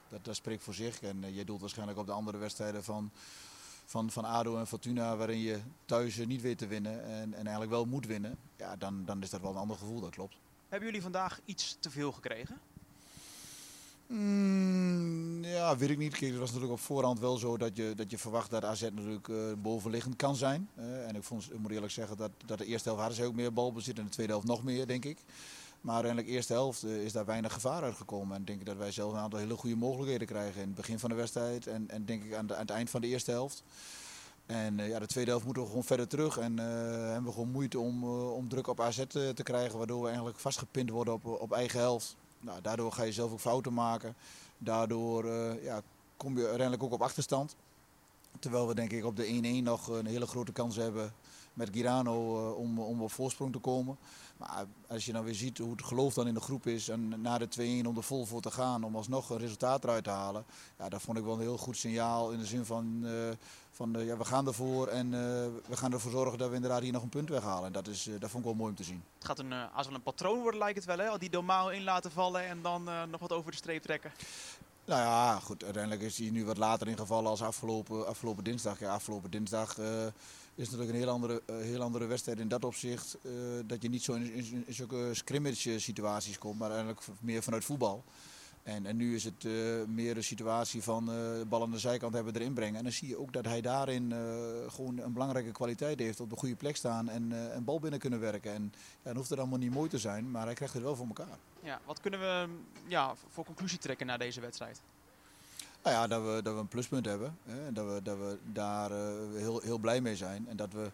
Dat, dat spreekt voor zich. En eh, je doelt waarschijnlijk op de andere wedstrijden van, van, van ADO en Fortuna, waarin je thuis eh, niet weet te winnen en, en eigenlijk wel moet winnen. Ja, dan, dan is dat wel een ander gevoel, dat klopt.
Hebben jullie vandaag iets te veel gekregen?
Mm, ja, weet ik niet. Kijk, het was natuurlijk op voorhand wel zo dat je, dat je verwacht dat AZ natuurlijk eh, bovenliggend kan zijn. Eh, en ik, vond, ik moet eerlijk zeggen dat, dat de eerste helft hadden ze ook meer balbezit en de tweede helft nog meer, denk ik. Maar uiteindelijk eerste helft eh, is daar weinig gevaar uitgekomen. En ik denk ik dat wij zelf een aantal hele goede mogelijkheden krijgen in het begin van de wedstrijd. En, en denk ik aan, de- aan het eind van de eerste helft. En eh, ja, de tweede helft moeten we gewoon verder terug. En eh, hebben we gewoon moeite om, eh, om druk op AZ te, te krijgen. Waardoor we eigenlijk vastgepind worden op, op eigen helft. Nou, daardoor ga je zelf ook fouten maken. Daardoor eh, ja, kom je uiteindelijk ook op achterstand. Terwijl we denk ik op de 1-1 nog een hele grote kans hebben met Girano eh, om, om op voorsprong te komen. Maar als je dan weer ziet hoe het geloof dan in de groep is en na de 2-1 om er vol voor te gaan, om alsnog een resultaat eruit te halen. Ja, dat vond ik wel een heel goed signaal in de zin van, eh, van eh, ja, we gaan ervoor en eh, we gaan ervoor zorgen dat we inderdaad hier nog een punt weghalen. En dat, is, eh, dat vond ik wel mooi om te zien.
Het gaat een, eh, als wel een patroon worden, lijkt het wel. Hè? Al Die Domao in laten vallen en dan eh, nog wat over de streep trekken.
Nou ja, goed, uiteindelijk is hij nu wat later ingevallen als afgelopen, afgelopen dinsdag. Ja, afgelopen dinsdag eh, is natuurlijk een heel andere, eh, heel andere wedstrijd in dat opzicht. eh, dat je niet zo in, in, in zulke scrimmage eh, situaties komt, maar eigenlijk v- meer vanuit voetbal. En, en nu is het eh, meer een situatie van eh, de bal aan de zijkant hebben erin brengen. En dan zie je ook dat hij daarin eh, gewoon een belangrijke kwaliteit heeft. Op de goede plek staan en, eh, en bal binnen kunnen werken. En ja, dan hoeft het allemaal niet mooi te zijn, maar hij krijgt het wel voor elkaar.
Ja, wat kunnen we mm, ja, v- voor conclusie trekken na deze wedstrijd?
Nou ja, dat we, dat we een pluspunt hebben. Hè, en dat, we, dat we daar eh, heel, heel blij mee zijn. En dat we,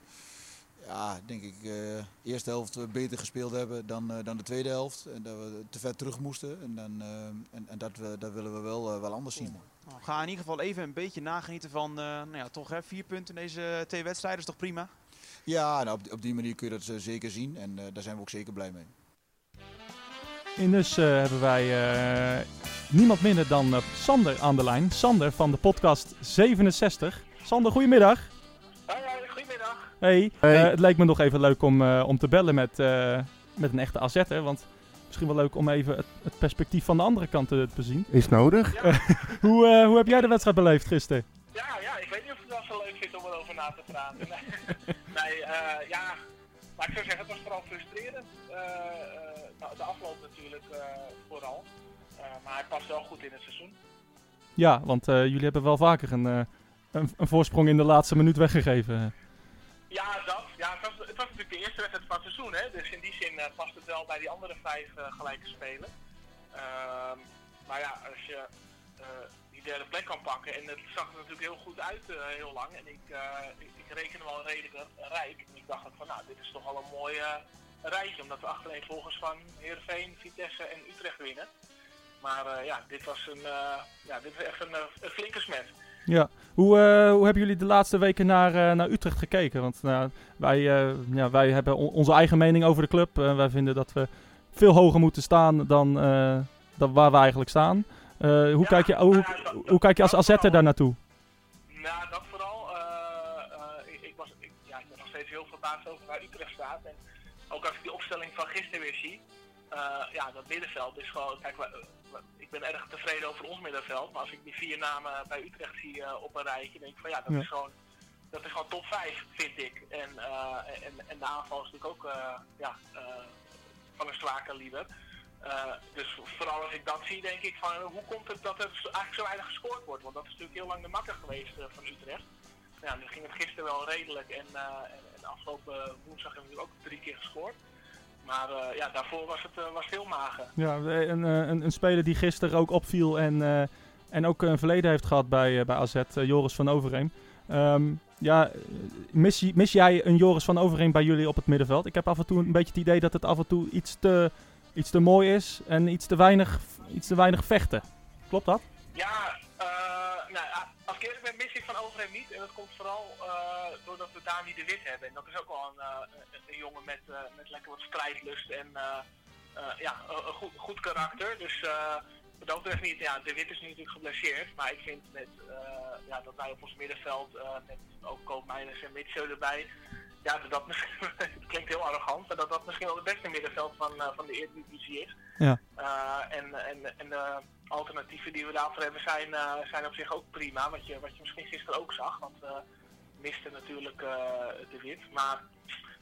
ja, denk ik, eh, de eerste helft beter gespeeld hebben dan, eh, dan de tweede helft. En dat we te ver terug moesten. En, dan, eh, en, en dat, we, dat willen we wel, eh, wel anders zien.
Nou, ga in ieder geval even een beetje nagenieten van eh, nou ja, toch, hè, vier punten in deze eh, twee wedstrijden. is toch prima?
Ja, nou, op, die- op die manier kun je dat eh, zeker zien. En eh, daar zijn we ook zeker blij mee.
En dus eh, hebben wij eh, niemand minder dan eh, Sander aan de lijn. Sander van de podcast 67. Sander, goedemiddag.
goedemiddag.
Hey,
Hey.
eh, het leek me nog even leuk om, eh, om te bellen met, eh, met een echte AZ'er. Want misschien wel leuk om even het, het perspectief van de andere kant te, te bezien.
Is nodig.
Hoe, eh, hoe heb jij de wedstrijd beleefd gisteren?
Ja, ja, ik weet niet of ik dat zo leuk vind om erover na te praten. [laughs] Nee, nee eh, ja, maar ik zou zeggen, het was vooral frustrerend. Eh, eh, nou, de afloop natuurlijk eh, vooral. Eh, maar hij past wel goed in het seizoen.
Ja, want eh, jullie hebben wel vaker een, eh, een, een voorsprong in de laatste minuut weggegeven.
Ja, dat. Ja, het, was, het was natuurlijk de eerste wedstrijd van het seizoen, hè? dus in die zin eh, past het wel bij die andere vijf eh, gelijke spelen. Ehm, maar ja, als je eh, die derde plek kan pakken, en het zag er natuurlijk heel goed uit eh, heel lang, en ik, eh, ik, ik reken hem al redelijk rijk. En ik dacht ook van, nou, dit is toch al een mooi eh, rijtje, omdat we achtereenvolgens van Heerenveen, Vitesse en Utrecht winnen. Maar eh, ja, dit was een, eh, ja, dit was echt een, eh, een flinke smet.
Ja. Hoe, eh, hoe hebben jullie de laatste weken naar, eh, naar Utrecht gekeken? Want nou, wij, eh, ja, wij hebben on- onze eigen mening over de club. Eh, wij vinden dat we veel hoger moeten staan dan, eh, dan waar we eigenlijk staan. Eh, hoe,
Ja,
kijk je, hoe,
nou ja, dat-
hoe kijk je als
dat-
AZ'er daar naartoe?
Nou, dat vooral. eh, eh, ik, ik was, ik, ja, ik ben nog steeds heel verbaasd over waar Utrecht staat. En ook als ik die opstelling van gisteren weer zie. eh, ja, dat middenveld is gewoon... Kijk, wa- wa- ik ben erg tevreden over ons middenveld. Maar als ik die vier namen bij Utrecht zie eh, op een rijtje... denk ik van ja, dat
Ja.
is gewoon... Dat is gewoon top 5, vind ik. En, eh, en, en de aanval is natuurlijk ook eh, ja, eh, van een zwaar kaliber. Eh, dus vooral als ik dat zie, denk ik van hoe komt het dat er zo- eigenlijk zo weinig gescoord wordt? Want dat is natuurlijk heel lang de makker geweest eh, van Utrecht. Nou Ja, nu ging het gisteren wel redelijk en, eh, en, en afgelopen woensdag hebben we ook drie keer gescoord. Maar eh, ja, daarvoor was het, eh, was het heel mager.
Ja, een, eh, een, een speler die gisteren ook opviel en, eh, en ook een verleden heeft gehad bij, eh, bij AZ, eh, Joris van Overheem. Ehm, ja, eh, mis, je- mis jij een Joris van Overheem bij jullie op het middenveld? Ik heb af en toe een beetje het idee dat het af en toe iets te, iets te mooi is en iets te weinig, iets te weinig vechten. Klopt dat?
Ja, eh, nou, a- als ik eerlijk ben, mis ik van Overheem niet. En dat komt vooral eh, doordat we Dani de Wit hebben. En dat is ook wel een, eh, een- een jongen met, eh, met lekker wat strijdlust en eh, eh, ja, een, een goed, goed karakter. Dus eh, wat dat betreft niet. Ja, de Wit is nu natuurlijk geblesseerd. Maar ik vind met, eh, ja, dat wij op ons middenveld, eh, met ook Koopmeijers en Mitchell erbij... Ja, dat, dat misschien, [laughs] het klinkt heel arrogant, maar dat dat misschien wel het beste middenveld van, eh, van de Eredivisie is. Eh, en, en, en de alternatieven die we daarvoor hebben zijn, eh, zijn op zich ook prima. Wat je, wat je misschien gisteren ook zag, want we misten natuurlijk eh, de wit. Maar,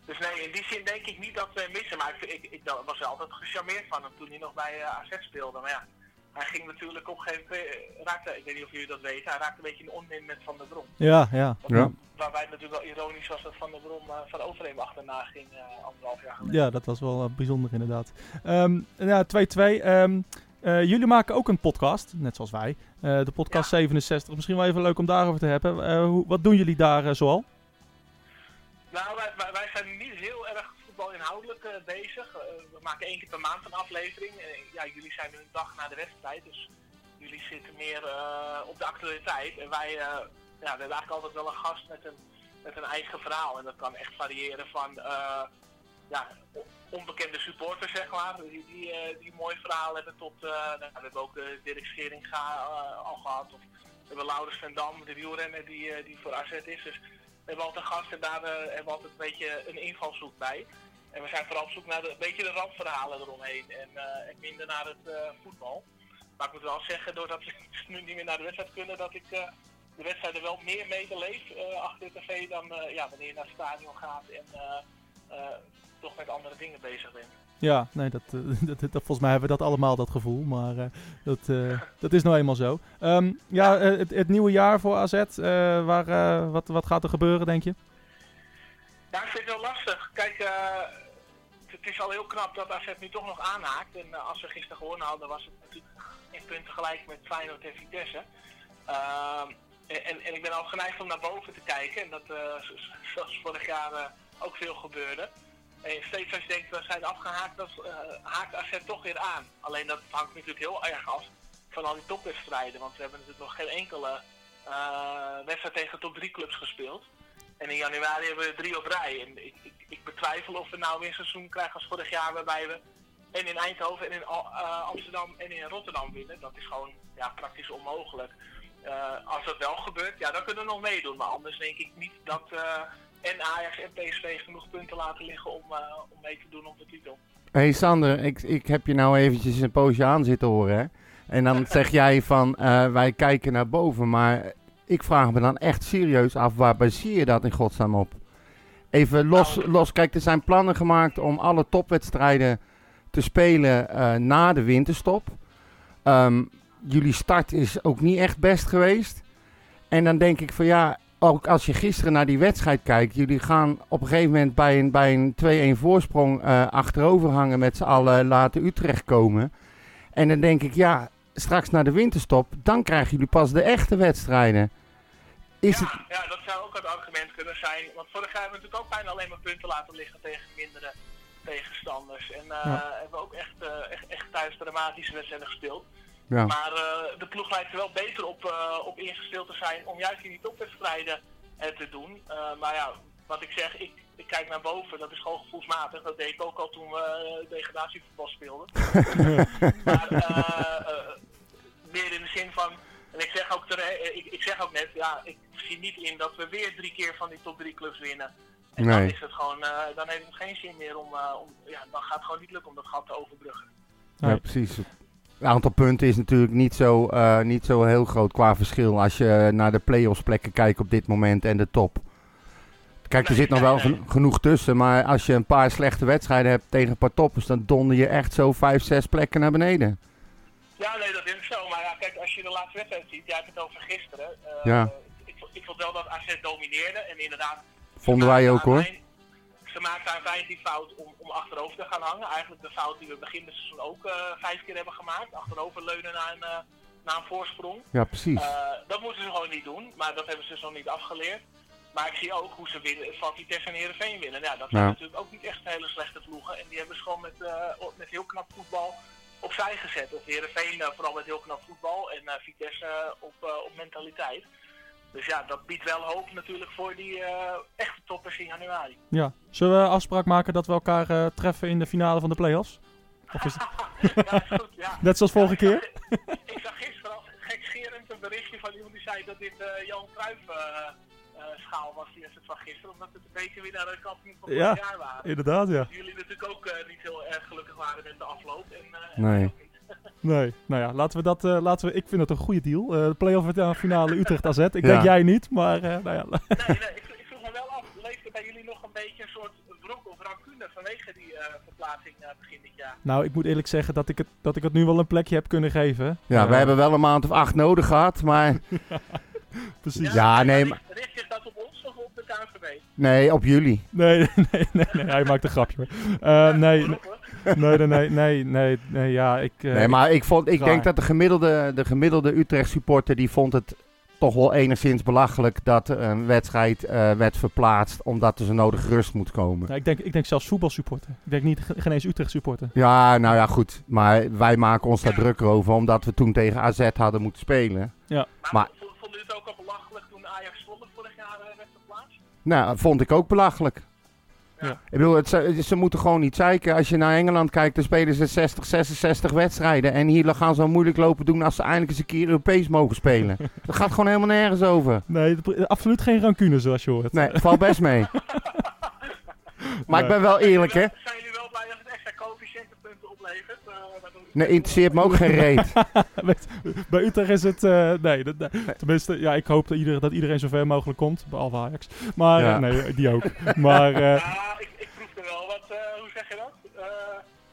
dus nee, in die zin denk ik niet dat we hem missen. Maar ik, ik, ik was wel altijd gecharmeerd van hem toen hij nog bij eh, AZ speelde. Maar ja, hij ging natuurlijk op een gegeven moment, eh, raakte, ik weet niet of jullie dat weten, hij raakte een beetje in onmin met Van der Brom.
Ja, ja.
Wat-
Ja.
Waarbij het natuurlijk wel ironisch was dat Van der Brom eh, van Overheem achterna ging eh, anderhalf jaar geleden.
Ja, dat was wel eh, bijzonder inderdaad. Ehm, ja, 2-2. ehm, eh, jullie maken ook een podcast, net zoals wij. Eh, de podcast 67. Misschien wel even leuk om daarover te hebben. Eh, hoe, wat doen jullie daar eh, zoal?
Nou, wij, wij- wij zijn niet heel erg voetbalinhoudelijk eh, bezig. Eh, we maken één keer per maand een aflevering. Eh, ja, jullie zijn nu een dag na de wedstrijd, dus jullie zitten meer eh, op de actualiteit. En wij eh, ja, we hebben eigenlijk altijd wel een gast met een, met een eigen verhaal. En dat kan echt variëren van eh, ja, o- onbekende supporters, zeg maar, die, die, eh, die mooi verhaal hebben tot... eh, nou, we hebben ook eh Dirk Scheringa eh, al gehad. Of we hebben Laurens van Dam, de wielrenner die, eh, die voor AZ is. Dus we hebben altijd gasten daar eh, hebben we altijd een beetje een invalshoek bij. En we zijn vooral op zoek naar de, een beetje de randverhalen eromheen en, eh, en minder naar het eh, voetbal. Maar ik moet wel zeggen, doordat we [laughs] nu niet meer naar de wedstrijd kunnen, dat ik eh, de wedstrijden wel meer meebeleef eh, achter de tv dan eh, ja, wanneer je naar het stadion gaat en eh, eh, toch met andere dingen bezig bent.
Ja, nee, dat, eh, [laughs] dat, dat- volgens mij hebben we dat allemaal, dat gevoel. Maar eh, dat, eh, dat is nou eenmaal zo. Ehm, ja, eh, het, het nieuwe jaar voor AZ. eh, waar, eh, wat, wat gaat er gebeuren, denk je?
Ja, ik vind het heel lastig. Kijk, eh, het is al heel knap dat AZ nu toch nog aanhaakt. En eh, als we gisteren gewonnen hadden, was het natuurlijk in punten gelijk met Feyenoord en Vitesse. Ehm, en, en, en ik ben al geneigd om naar boven te kijken. En dat, eh, z- z- zoals vorig jaar eh, ook veel gebeurde. En steeds als je denkt, we zijn afgehaakt, dan eh, haakt AZ toch weer aan. Alleen dat hangt natuurlijk heel erg af van al die topwedstrijden. Want we hebben natuurlijk nog geen enkele eh, wedstrijd tegen top 3 clubs gespeeld. En in januari hebben we drie op rij. En ik, ik, ik betwijfel of we nou weer een seizoen krijgen als vorig jaar, waarbij we en in Eindhoven en in Al- eh, Amsterdam en in Rotterdam winnen. Dat is gewoon ja, praktisch onmogelijk. Eh, als dat wel gebeurt, ja, dan kunnen we nog meedoen. Maar anders denk ik niet dat eh, en Ajax en PSV genoeg punten laten liggen om, eh, om mee te doen op de titel.
hey Sander, ik, ik heb je nou eventjes een poosje aan zitten horen. Hè? En dan zeg jij van eh, wij kijken naar boven. Maar ik vraag me dan echt serieus af waar baseer je dat in godsnaam op? Even los,
Nou.
los. Kijk, er zijn plannen gemaakt om alle topwedstrijden te spelen eh, na de winterstop. Ehm, jullie start is ook niet echt best geweest. En dan denk ik van ja, ook als je gisteren naar die wedstrijd kijkt, jullie gaan op een gegeven moment bij een, bij een 2-1 voorsprong eh, achterover hangen met z'n allen, laten Utrecht komen. En dan denk ik ja, straks naar de winterstop, dan krijgen jullie pas de echte wedstrijden. Is
ja,
het...
ja, dat zou ook het argument kunnen zijn. Want vorig jaar hebben we natuurlijk ook bijna alleen maar punten laten liggen tegen mindere tegenstanders. En eh,
Ja.
hebben we ook echt, eh, echt, echt thuis dramatische wedstrijden gespeeld.
Ja.
Maar eh, de ploeg lijkt er wel beter op, eh, op ingesteld te zijn om juist in die topwedstrijden eh, te doen. Eh, maar ja, wat ik zeg, ik, ik kijk naar boven, dat is gewoon gevoelsmatig. Dat deed ik ook al toen we eh, degradatievoetbal speelden.
[laughs]
maar eh, eh, meer in de zin van, en ik zeg ook, tere- eh, ik, ik zeg ook net, ja, ik zie niet in dat we weer drie keer van die top drie clubs winnen. En dan
Nee.
is het gewoon, eh, dan heeft het geen zin meer om, eh, om, ja, dan gaat het gewoon niet lukken om dat gat te overbruggen.
Ja,
Nee.
precies. Het aantal punten is natuurlijk niet zo, eh, niet zo heel groot qua verschil als je naar de play-offs plekken kijkt op dit moment en de top. Kijk, er
Nee,
zit nog
nee,
wel
nee.
geno- genoeg tussen, maar als je een paar slechte wedstrijden hebt tegen een paar toppers, dan donder je echt zo vijf, zes plekken naar beneden.
Ja, nee, dat is ook zo. Maar ja, kijk, als je de laatste wedstrijd ziet, jij hebt het over gisteren. Eh,
Ja.
Ik, vond- ik vond wel dat AZ domineerde en inderdaad... ze
Vonden wij
maakten
ook
aan
hoor.
mijn- Ze maakten aan vijf die fout om, om achterover te gaan hangen. Eigenlijk de fout die we begin dit seizoen ook eh, vijf keer hebben gemaakt. Achterover leunen naar een, eh, naar een voorsprong.
Ja, precies.
Eh, dat moeten ze gewoon niet doen, maar dat hebben ze dus nog niet afgeleerd. Maar ik zie ook hoe ze winnen, van Vitesse en Heerenveen winnen. Ja, dat zijn
Ja.
natuurlijk ook niet echt hele slechte ploegen. En die hebben ze gewoon met, eh, op- met heel knap voetbal opzij gezet. Of Heerenveen eh, vooral met heel knap voetbal en eh, Vitesse eh, op, eh, op mentaliteit. Dus ja, dat biedt wel hoop natuurlijk voor die eh, echte toppers in januari. [laughs]
Ja. Zullen we afspraak maken dat we elkaar eh, treffen in de finale van de play-offs? Of is het...
ja, is goed, ja.
Net zoals vorige
[laughs] Ja, ik
keer?
zag- Ik zag gisteren al gekscherend een berichtje van iemand die zei dat dit eh Johan Cruijff eh, eh, schaal was, die wedstrijd van gisteren, omdat het een beetje weer naar de kampioen van
Ja.
vorig jaar waren.
Inderdaad, ja.
Jullie natuurlijk ook eh, niet heel erg gelukkig waren met de afloop. En, eh, en
Nee.
wij ook niet.
Nee, nou ja, laten we dat. eh, laten we, ik vind dat een goede deal. Eh, de play-off eh, finale Utrecht AZ. Ik denk jij niet, maar eh, nou ja. [laughs]
nee, nee, ik, ik vroeg me wel af, leefde bij jullie nog een beetje een soort wrok of rancune vanwege die eh, verplaatsing verwachting eh, begin dit jaar.
Nou, ik moet eerlijk zeggen dat ik het, dat ik het nu wel een plekje heb kunnen geven.
Ja,
Eh,
we hebben wel een maand of acht nodig gehad, maar
Precies.
Ja, nee,
maar... richt- Richt zich dat op ons of op de KNVB?
nee, op jullie.
Nee, [laughs] nee, nee, nee, nee, hij maakt een grapje. hoor. Eh, nee, nee,
Rob, hoor.
nee, nee, nee, nee, nee, nee, ja, ik... eh,
Nee, maar ik, vond, ik
Klaar.
denk dat de gemiddelde, de gemiddelde Utrecht supporter die vond het toch wel enigszins belachelijk dat een wedstrijd eh, werd verplaatst omdat er zo nodig rust moet komen.
nou, ik, denk, ik denk zelfs voetbalsupporter. Ik denk niet, ge- geen eens Utrecht supporter.
Ja, nou ja, goed. Maar wij maken ons daar druk over omdat we toen tegen AZ hadden moeten spelen.
Maar,
Maar-
vo- vonden jullie het ook al belachelijk toen Ajax Zwolle vorig jaar eh, werd verplaatst?
Nou, vond ik ook belachelijk.
Ja.
Ik bedoel, het, ze, ze moeten gewoon niet zeiken. Als je naar Engeland kijkt, dan spelen ze 60, 66 wedstrijden. En hier gaan ze al moeilijk lopen doen als ze eindelijk eens een keer Europees mogen
[laughs]
spelen. Dat gaat gewoon helemaal nergens over.
Nee, dat- absoluut geen rancune zoals je hoort.
Nee, valt best mee. Maar ik ben wel eerlijk, hè.
Zijn jullie wel blij dat het extra coëfficiëntenpunten oplevert? Eh, waardoor-
Nee, interesseert me ook geen
[laughs]
reet.
Weet- bij Utrecht is het... eh, nee, dat, nee. tenminste, ja, ik hoop dat iedereen, dat iedereen zover mogelijk komt. Behalve Ajax. Maar
Ja.
eh, nee, die ook. [laughs] Maar eh,
Ja, ik, ik proef er wel wat, eh, hoe zeg je dat? Eh,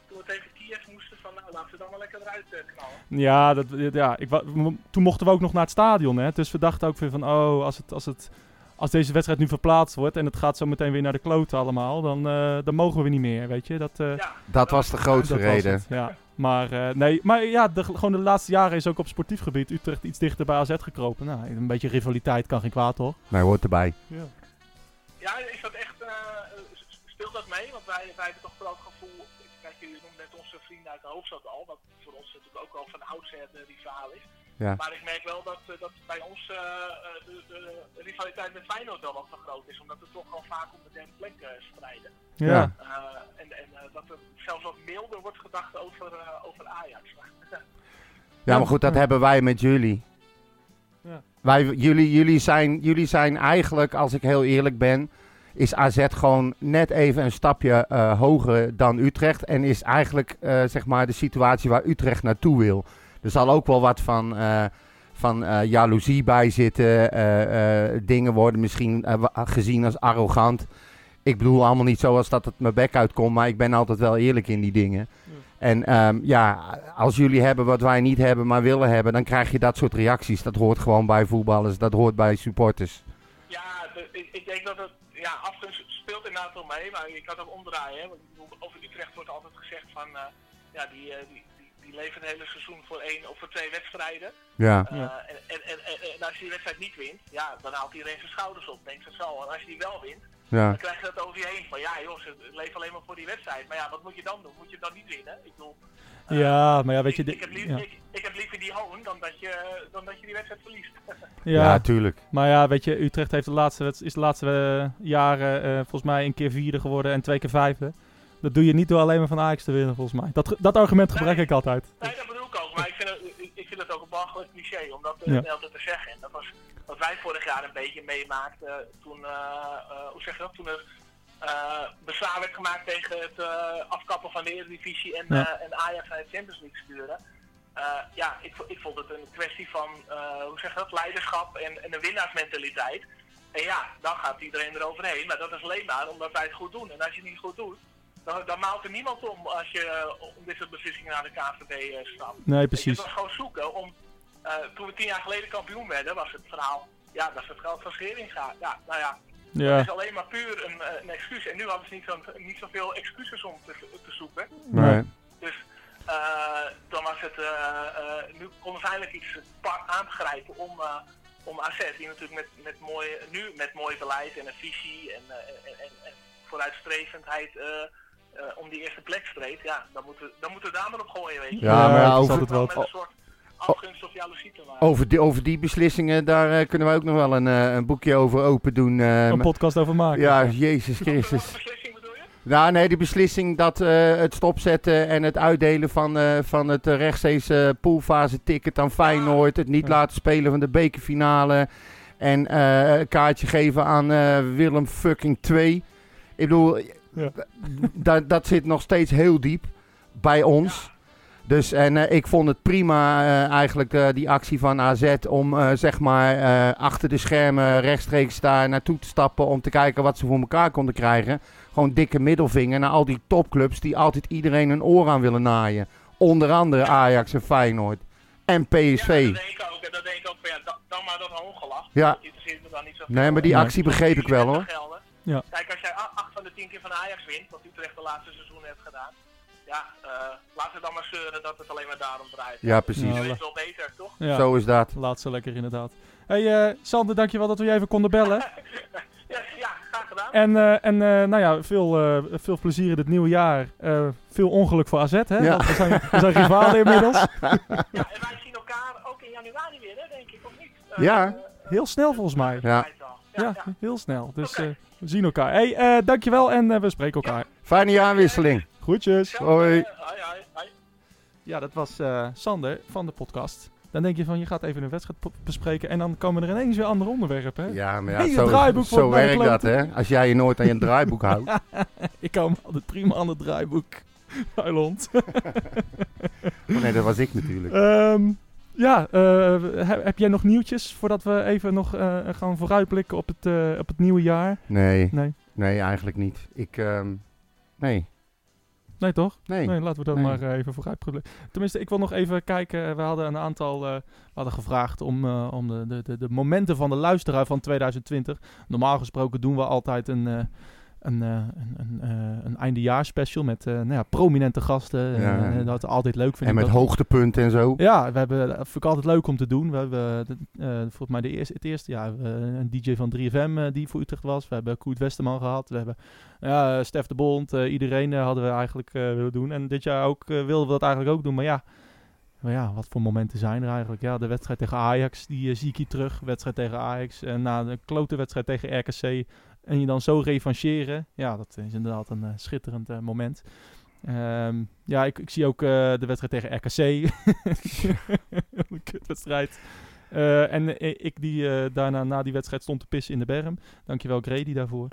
toen we tegen Kiev moesten, van nou laten we dan maar lekker eruit eh, knallen.
ja, dat, ja ik, wa- toen mochten we ook nog naar het stadion. Hè, dus we dachten ook weer van... Oh, als, het, als, het, als deze wedstrijd nu verplaatst wordt... en het gaat zo meteen weer naar de kloten allemaal... dan, eh, dan mogen we niet meer, weet je. Dat, eh,
Ja,
Dat was de grootste
Dat was
reden.
het, ja. Maar, eh, nee, maar ja, de, gewoon de laatste jaren is ook op sportief gebied Utrecht iets dichter bij AZ gekropen. Nou, een beetje rivaliteit kan geen kwaad, toch?
Nee, Nou, hoort erbij.
ja, is dat echt, eh, s- speelt dat mee? Want wij, wij hebben toch vooral het gevoel, kijk jullie noemen net onze vrienden uit de hoofdstad al, wat voor ons natuurlijk ook al van oudsher de rivaal is.
Ja.
Maar ik merk wel dat, eh, dat bij ons eh, eh, de, de rivaliteit met Feyenoord wel wat te groot is, omdat we toch al vaak om de derde plek eh, strijden.
Ja.
Ja.
Eh, en en eh, dat er zelfs wat milder wordt gedacht over, eh, over Ajax.
Ja, maar goed, dat hebben wij met jullie.
Ja.
Wij, jullie, jullie, zijn, jullie zijn eigenlijk, als ik heel eerlijk ben, is AZ gewoon net even een stapje eh, hoger dan Utrecht. En is eigenlijk eh, zeg maar de situatie waar Utrecht naartoe wil. Er zal ook wel wat van, eh, van eh, jaloezie bij zitten. eh, eh, dingen worden misschien eh, wa- gezien als arrogant. Ik bedoel allemaal niet zoals dat het mijn bek uitkomt, maar ik ben altijd wel eerlijk in die dingen. En ehm, ja, als jullie hebben wat wij niet hebben, maar willen hebben, dan krijg je dat soort reacties. Dat hoort gewoon bij voetballers, dat hoort bij supporters.
Ja, de- ik, ik denk dat het. Ja, afgunst speelt inderdaad wel mee, maar je kan het ook omdraaien. Hè? Want ik bedoel, over Utrecht wordt altijd gezegd van. eh, ja, die, eh, die, die, die leven het hele seizoen voor één of voor twee wedstrijden.
Ja.
Eh,
Ja.
en, en, en, en- en als je die wedstrijd niet wint, ja, dan haalt iedereen zijn schouders op. Denkt ze zo. En als je die wel wint,
ja.
dan krijg je dat over je heen. Van ja, jongens, het leeft alleen maar voor die wedstrijd. Maar ja, wat moet je dan doen? Moet je hem dan niet winnen? Ik bedoel. eh,
Ja, maar ja, weet je...
ik,
dit-
ik, heb liever,
ja.
ik, ik heb liever die hoon dan dat je, dan dat je die wedstrijd verliest.
Ja,
tuurlijk.
maar ja, weet je, Utrecht heeft de laatste, wedst- is de laatste eh, jaren eh, volgens mij een keer vierde geworden en twee keer vijfde. Dat doe je niet door alleen maar van Ajax te winnen, volgens mij. Dat, ge- dat argument gebruik
Nee.
ik altijd.
Nee, dat bedoel ik ook, maar ik vind het, ik- ik vind het ook een belachelijk cliché om dat eh,
Ja.
altijd te zeggen. En dat was wat wij vorig jaar een beetje meemaakten toen, eh, eh, hoe zeg je dat, toen er eh, bezwaar werd gemaakt tegen het eh, afkappen van de Eredivisie en,
Ja.
eh, en Ajax naar de Champions League sturen. Eh, ja, ik, vo- ik vond het een kwestie van, eh, hoe zeg je dat, leiderschap en, en een winnaarsmentaliteit. En ja, dan gaat iedereen eroverheen, maar dat is alleen maar omdat wij het goed doen. En als je het niet goed doet, dan, dan maalt er niemand om als je eh, om dit soort beslissingen naar de KVB eh stapt.
Nee,
Weet Je
precies.
was gewoon zoeken om. eh, toen we tien jaar geleden kampioen werden, was het verhaal. Ja, dat is het geld van Scheringa. Ja, nou ja,
Ja.
het is alleen maar puur een, eh, een excuus. En nu hadden ze niet, zo, niet zoveel excuses om te, te zoeken.
Nee.
Dus eh, dan was het. eh, eh, nu konden ze eindelijk iets pa- aangrijpen om, eh, om AZ, die natuurlijk met, met mooi, nu met mooi beleid en een visie en, eh, en, en, en vooruitstrevendheid. eh, eh, om die eerste plek streed, ja, dan moeten, we- dan moeten we daar maar op gooien, weet je.
Ja, maar
het is
ja, over-
altijd
Wel
wel...
met een soort
Oh.
afgunst of jaloezie te maken.
Over die, over die beslissingen, daar eh, kunnen we ook nog wel een, eh, een boekje over open doen. eh,
Een
maar-
podcast over maken.
ja, Jezus
Welke
[laughs]
Christus.
beslissing bedoel je?
Nou, nee, die beslissing dat eh, het stopzetten en het uitdelen van, eh, van het eh, rechtstreeks eh, poolfase-ticket aan Feyenoord. Het niet
Ja.
laten spelen van de bekerfinale. En eh, een kaartje geven aan eh, Willem fucking 2. Ik bedoel,
Ja.
da- dat zit nog steeds heel diep bij ons. Dus en eh, ik vond het prima eh, eigenlijk eh, die actie van AZ om eh, zeg maar eh, achter de schermen rechtstreeks daar naartoe te stappen om te kijken wat ze voor elkaar konden krijgen. Gewoon dikke middelvinger naar al die topclubs die altijd iedereen een oor aan willen naaien. Onder andere Ajax en Feyenoord en
Ja,
PSV.
dat denk ik ook. Dat denk ik ook. Maar ja, dan, dan maar dat hongelach.
Ja.
Dat interesseert me dan niet zo
Nee, maar die
Nee.
actie begreep ik wel hoor.
Ja.
Kijk, als jij a- acht van de tien keer van Ajax wint, wat Utrecht de laatste seizoen heeft gedaan. Ja, eh laten we dan maar zeuren dat het alleen maar daarom draait.
Ja,
Je
precies.
Ja.
weet wel beter, toch?
Ja,
Zo is dat.
laat ze lekker inderdaad. Hey eh, Sander, dankjewel dat we je even konden
[laughs]
bellen.
Ja, ja graag gedaan.
En, eh, en eh, nou ja, veel, eh, veel plezier in het nieuwe jaar. Eh, veel ongeluk voor AZ, hè?
Ja.
Want We zijn, we zijn
[laughs]
rivalen inmiddels.
Ja, en wij zien elkaar ook in januari weer, hè, denk ik, of niet? Eh,
Ja.
eh,
Heel snel volgens mij.
Ja.
tijd al. Ja,
Ja,
ja.
heel snel. Dus
Oké.
eh, we zien elkaar. Hey, eh, dankjewel en eh, we spreken elkaar.
Fijne jaarwisseling.
Groetjes.
Hoi.
Eh, hoi, hoi, hoi.
Ja, dat was eh, Sander van de podcast. Dan denk je van, je gaat even een wedstrijd po- bespreken en dan komen er ineens weer andere onderwerpen. Hè?
Ja, maar
Hele
ja, zo,
draaiboek voor
zo
het
werkt dat,
bijkloten.
hè? Als jij je nooit aan je draaiboek
[laughs]
houdt.
Ik hou me altijd prima aan het draaiboek. [laughs] Huilond.
Oh, nee, dat was ik natuurlijk.
Ehm, ja, eh, he- heb jij nog nieuwtjes voordat we even nog eh, gaan vooruitblikken op het, eh, op het nieuwe jaar?
Nee,
Nee.
nee, eigenlijk niet. Ik, ehm, nee,
Nee, toch?
nee.
Nee, laten we dat
Nee.
maar eh, even vooruit proberen. Tenminste, ik wil nog even kijken. We hadden een aantal. eh, we hadden gevraagd om, eh, om de, de, de, de momenten van de luisteraar van 2020. Normaal gesproken doen we altijd een. eh een, eh een, een, eh, een eindejaarspecial met eh, nou ja, prominente gasten. En,
Ja, ja.
eh, dat we altijd leuk vinden.
En met
Dat-
hoogtepunten en
[laughs]
zo.
ja, we hebben, dat vind ik altijd leuk om te doen. We hebben de, eh, volgens mij de eerste, het eerste jaar hebben we een DJ van 3FM eh, die voor Utrecht was. We hebben Koert Westerman gehad. We hebben ja, eh, Stef de Bond. eh, iedereen eh, hadden we eigenlijk eh, willen doen. En dit jaar ook eh, wilden we dat eigenlijk ook doen. Maar ja, maar ja, wat voor momenten zijn er eigenlijk? Ja, de wedstrijd tegen Ajax, die eh, zie ik hier terug. Wedstrijd tegen Ajax. En na de klote wedstrijd tegen RKC. En je dan zo revancheren. Ja, dat is inderdaad een eh, schitterend eh, moment. Ehm, ja, ik, ik zie ook eh, de wedstrijd tegen RKC. [laughs] een kutwedstrijd. Eh, en eh, ik die eh, daarna na die wedstrijd stond te pissen in de berm. Dankjewel Grady
[laughs]
daarvoor.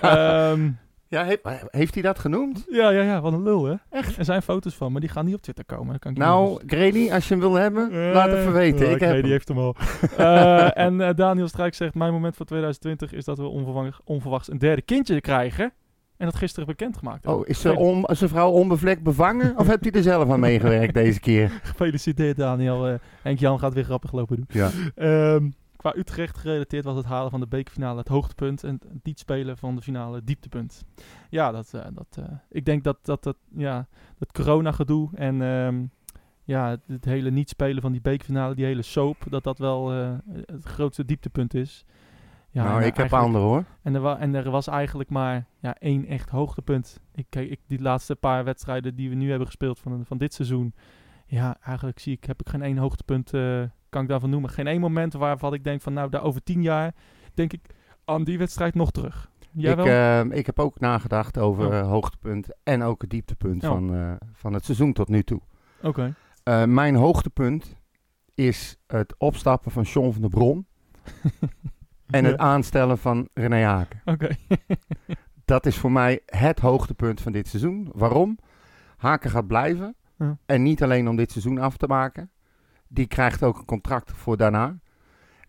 Ehm,
Ja, he- maar heeft hij dat genoemd?
ja, ja, ja, wat een lul hè. Echt? Er zijn foto's van, maar die gaan niet op Twitter komen. Dat kan ik je nog-
Nou, Grady, als je hem wil hebben, laat het
Eh,
even weten. ik heb
die
hem.
heeft hem
[laughs]
al. Eh, en eh, Daniel Strijk zegt: Mijn moment van 2020 is dat we onverwacht- onverwachts een derde kindje krijgen. En dat gisteren bekendgemaakt. hebben.
Oh, is ze on, is zijn vrouw onbevlekt bevangen? of [laughs] hebt hij er zelf aan meegewerkt deze keer?
[laughs] Gefeliciteerd, Daniel. Eh, Henk Jan gaat weer grappig lopen doen.
Ja.
Ehm, qua Utrecht gerelateerd was het halen van de bekerfinale het hoogtepunt. En het niet spelen van de finale het dieptepunt. Ja, dat, eh, dat, eh, ik denk dat dat, dat, ja, dat corona-gedoe en ehm, ja, het, het hele niet spelen van die bekerfinale, die hele soap, dat dat wel eh, het grootste dieptepunt is. Ja, en,
nou,
eh,
ik heb
eigenlijk-
andere hoor.
en er, wa- en er was eigenlijk maar ja, één echt hoogtepunt. Ik, kijk, ik, die laatste paar wedstrijden die we nu hebben gespeeld van, van dit seizoen. Ja, eigenlijk zie ik, heb ik geen één hoogtepunt, eh, kan ik daarvan noemen. Geen één moment waarvan ik denk van nou, daar over tien jaar denk ik aan die wedstrijd nog terug. Jij
Ik,
wel?
ehm, ik heb ook nagedacht over
Oh.
eh, hoogtepunt en ook het dieptepunt
Oh.
van, eh, van het seizoen tot nu toe.
Oké.
Eh, mijn hoogtepunt is het opstappen van Sean van der
[laughs]
Bron. en het aanstellen van René Haken.
Oké. [laughs]
Dat is voor mij het hoogtepunt van dit seizoen. Waarom? Haken gaat blijven.
Ja.
En niet alleen om dit seizoen af te maken. Die krijgt ook een contract voor daarna.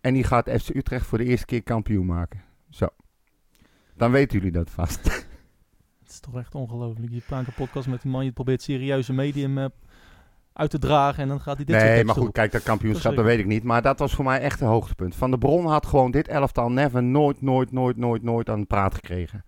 En die gaat FC Utrecht voor de eerste keer kampioen maken. Zo. Dan weten jullie dat vast.
Het is toch echt ongelooflijk. Je plaat een podcast met die man, je probeert serieuze medium eh, uit te dragen en dan gaat hij dit soort
nee,
teksten
maar goed,
op.
kijk, dat kampioenschap, dat
Verschrikkelijk.
weet ik niet. Maar dat was voor mij echt een hoogtepunt. Van de Bron had gewoon dit elftal never, nooit, nooit, nooit, nooit, nooit aan de praat gekregen.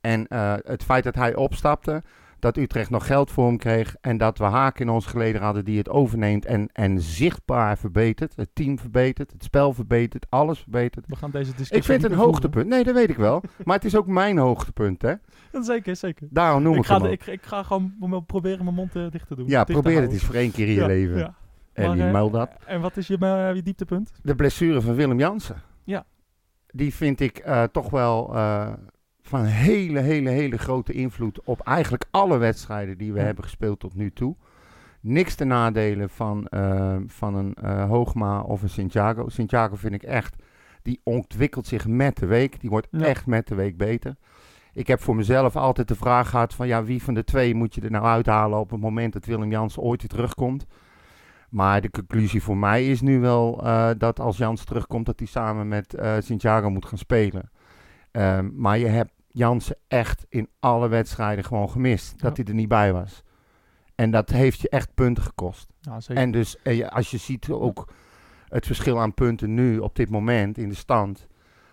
En eh, het feit dat hij opstapte, dat Utrecht nog geld voor hem kreeg en dat we Haak in ons geleden hadden die het overneemt en, en zichtbaar verbetert. Het team verbetert, het spel verbetert, alles verbetert.
We gaan deze discussie
Ik vind
niet
het een
meer voeren.
hoogtepunt. Nee, dat weet ik
[laughs]
wel. Maar het is ook mijn hoogtepunt, hè.
Ja, zeker, zeker.
Daarom noem ik,
Ik ga,
hem ook.
ik, ik ga gewoon m- proberen mijn mond eh, dicht te doen.
ja,
Dicht te
probeer het
houden.
eens voor één keer in je
Ja,
leven.
ja.
En
Maar,
die
eh,
mail dat.
En wat is je, eh, je dieptepunt?
de blessure van Willem Jansen.
Ja.
Die vind ik eh, toch wel eh, van hele, hele, hele grote invloed op eigenlijk alle wedstrijden die we
Ja.
hebben gespeeld tot nu toe. Niks te nadelen van, eh, van een eh, Hoogma of een Santiago. Santiago vind ik echt, die ontwikkelt zich met de week. Die wordt
Ja.
echt met de week beter. ik heb voor mezelf altijd de vraag gehad van ja, wie van de twee moet je er nou uithalen op het moment dat Willem Jans ooit weer terugkomt. Maar de conclusie voor mij is nu wel eh, dat als Jans terugkomt, dat hij samen met eh Santiago moet gaan spelen. Ehm, maar je hebt Jansen echt in alle wedstrijden gewoon gemist. Dat
Ja.
hij er niet bij was. En dat heeft je echt punten gekost.
Ja, zeker.
En dus eh, ja, als je ziet ook het verschil aan punten nu op dit moment in de stand.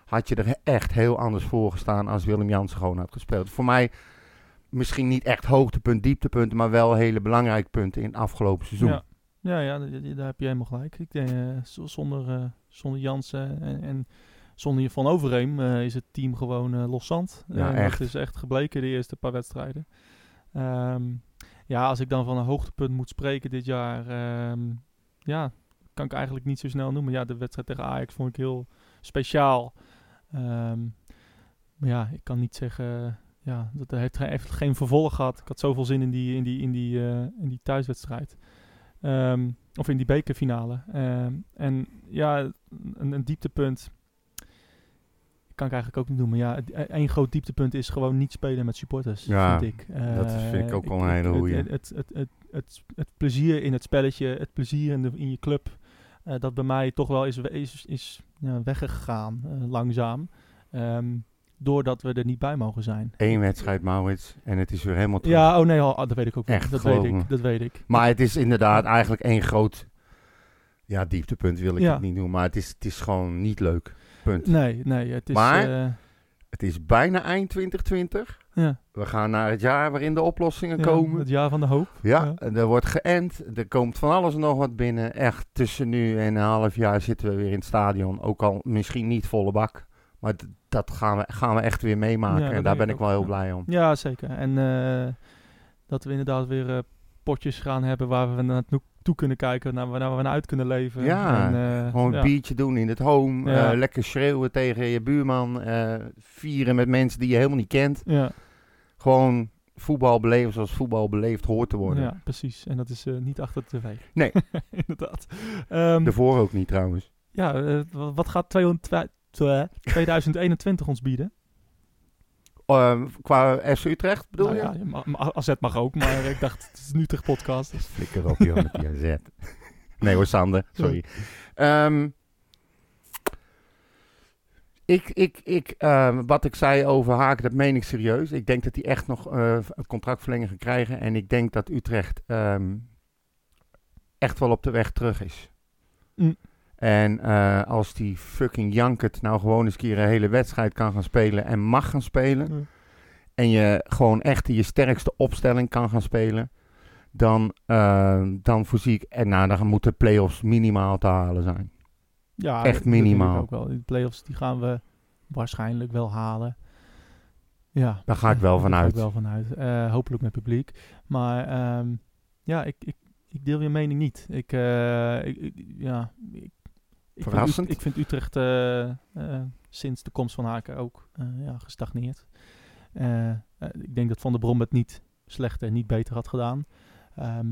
Had je er echt heel anders voor gestaan als Willem Jansen gewoon had gespeeld. Voor mij misschien niet echt hoogtepunt, dieptepunten, maar wel hele belangrijke punten in het afgelopen seizoen.
Ja, ja, ja d- d- daar heb je helemaal gelijk. Ik denk, eh, z- zonder, eh, zonder Jansen en, en zonder Van Overheem eh, is het team gewoon eh los zand.
Ja,
Eh,
echt.
Dat is echt gebleken de eerste paar wedstrijden. Ehm, ja, als ik dan van een hoogtepunt moet spreken dit jaar, ehm, ja, kan ik eigenlijk niet zo snel noemen. Ja, de wedstrijd tegen Ajax vond ik heel speciaal. Ehm, maar ja, ik kan niet zeggen, ja, dat heeft, ge- heeft geen vervolg gehad. Ik had zoveel zin in die, in die, in die, eh, in die thuiswedstrijd. Ehm, of in die bekerfinale. Ehm, en ja, een, een dieptepunt kan ik eigenlijk ook niet noemen. Ja, e-, één groot dieptepunt is gewoon niet spelen met supporters,
Ja,
vind ik.
dat is- vind ik
Eh,
ook wel een hele
het-
goeie.
Het, het, het, het, het- het plezier in het spelletje, het plezier in, de, in je club, eh, dat bij mij toch wel is, we- is, is ja, weggegaan, eh, langzaam. Ehm, doordat we er niet bij mogen zijn.
Eén wedstrijd, Maurits, en het is weer helemaal terug.
Ja, oh nee, al, ah, dat weet ik ook. wel.
Echt,
dat
geloof
weet
me.
ik. Dat weet ik.
Maar het is inderdaad eigenlijk één groot ja, dieptepunt, wil ik
Ja.
het niet noemen. Maar het is, het is gewoon niet leuk. Punt.
Nee, nee, het is.
Maar-
eh,
Het is bijna eind 2020.
ja,
We gaan naar het jaar waarin de oplossingen
ja,
komen.
Het jaar van de hoop.
Ja, er wordt geënt. Er komt van alles en nog wat binnen. Echt tussen nu en een half jaar zitten we weer in het stadion. Ook al misschien niet volle bak. Maar d- dat gaan we, gaan we echt weer meemaken.
Ja, dat
en daar
denk
ben
ik
ik wel
ook,
heel
ja.
blij om.
Ja, zeker. En eh, dat we inderdaad weer eh, potjes gaan hebben waar we naartoe toe kunnen kijken, naar, waar we naar uit kunnen leven.
Ja,
en, eh,
Gewoon een
ja.
biertje doen in het home.
Ja.
eh, lekker schreeuwen tegen je buurman. eh, vieren met mensen die je helemaal niet kent.
Ja,
Gewoon voetbal beleven zoals voetbal beleefd hoort te worden.
ja, precies. En dat is eh, niet achter de tv.
Nee.
[laughs] inderdaad. Ehm,
Daarvoor ook niet trouwens.
ja, eh, wa- wat gaat 200 twa- 2021 ons bieden?
Eh, qua FC Utrecht bedoel
Nou
je?
ja, je ma- ma- AZ mag ook, maar ik dacht, het is nu terug podcast. dus-
Flikker op, joh, met die AZ. [laughs] Nee hoor, Sander, sorry. Ehm, ik, ik, ik, ehm, wat ik zei over Haken, dat meen ik serieus. Ik denk dat die echt nog eh, een contractverlenging gaat krijgen. En ik denk dat Utrecht ehm, echt wel op de weg terug is.
Mm.
En eh, als die fucking Jankert nou gewoon eens een keer een hele wedstrijd kan gaan spelen en mag gaan spelen
Ja.
en je gewoon echt in je sterkste opstelling kan gaan spelen, dan, eh, dan voorzie ik, en nou, dan moeten play-offs minimaal te halen zijn.
Ja, dat- dat
Echt
denk ik
minimaal.
ook wel. Die play-offs die gaan we waarschijnlijk wel halen. Ja.
Daar ga ik wel
Daar
van
ga
uit.
ik wel vanuit. Eh, hopelijk met publiek. Maar ehm, ja, ik, ik, ik deel je mening niet. Ik, eh, ik, ik- ja, ik, ik vind
Verrassend.
Ut- Ik vind Utrecht eh, eh, sinds de komst van Haken ook eh, ja, gestagneerd. Eh, eh, ik denk dat Van der Brom het niet slechter, niet beter had gedaan. Ehm,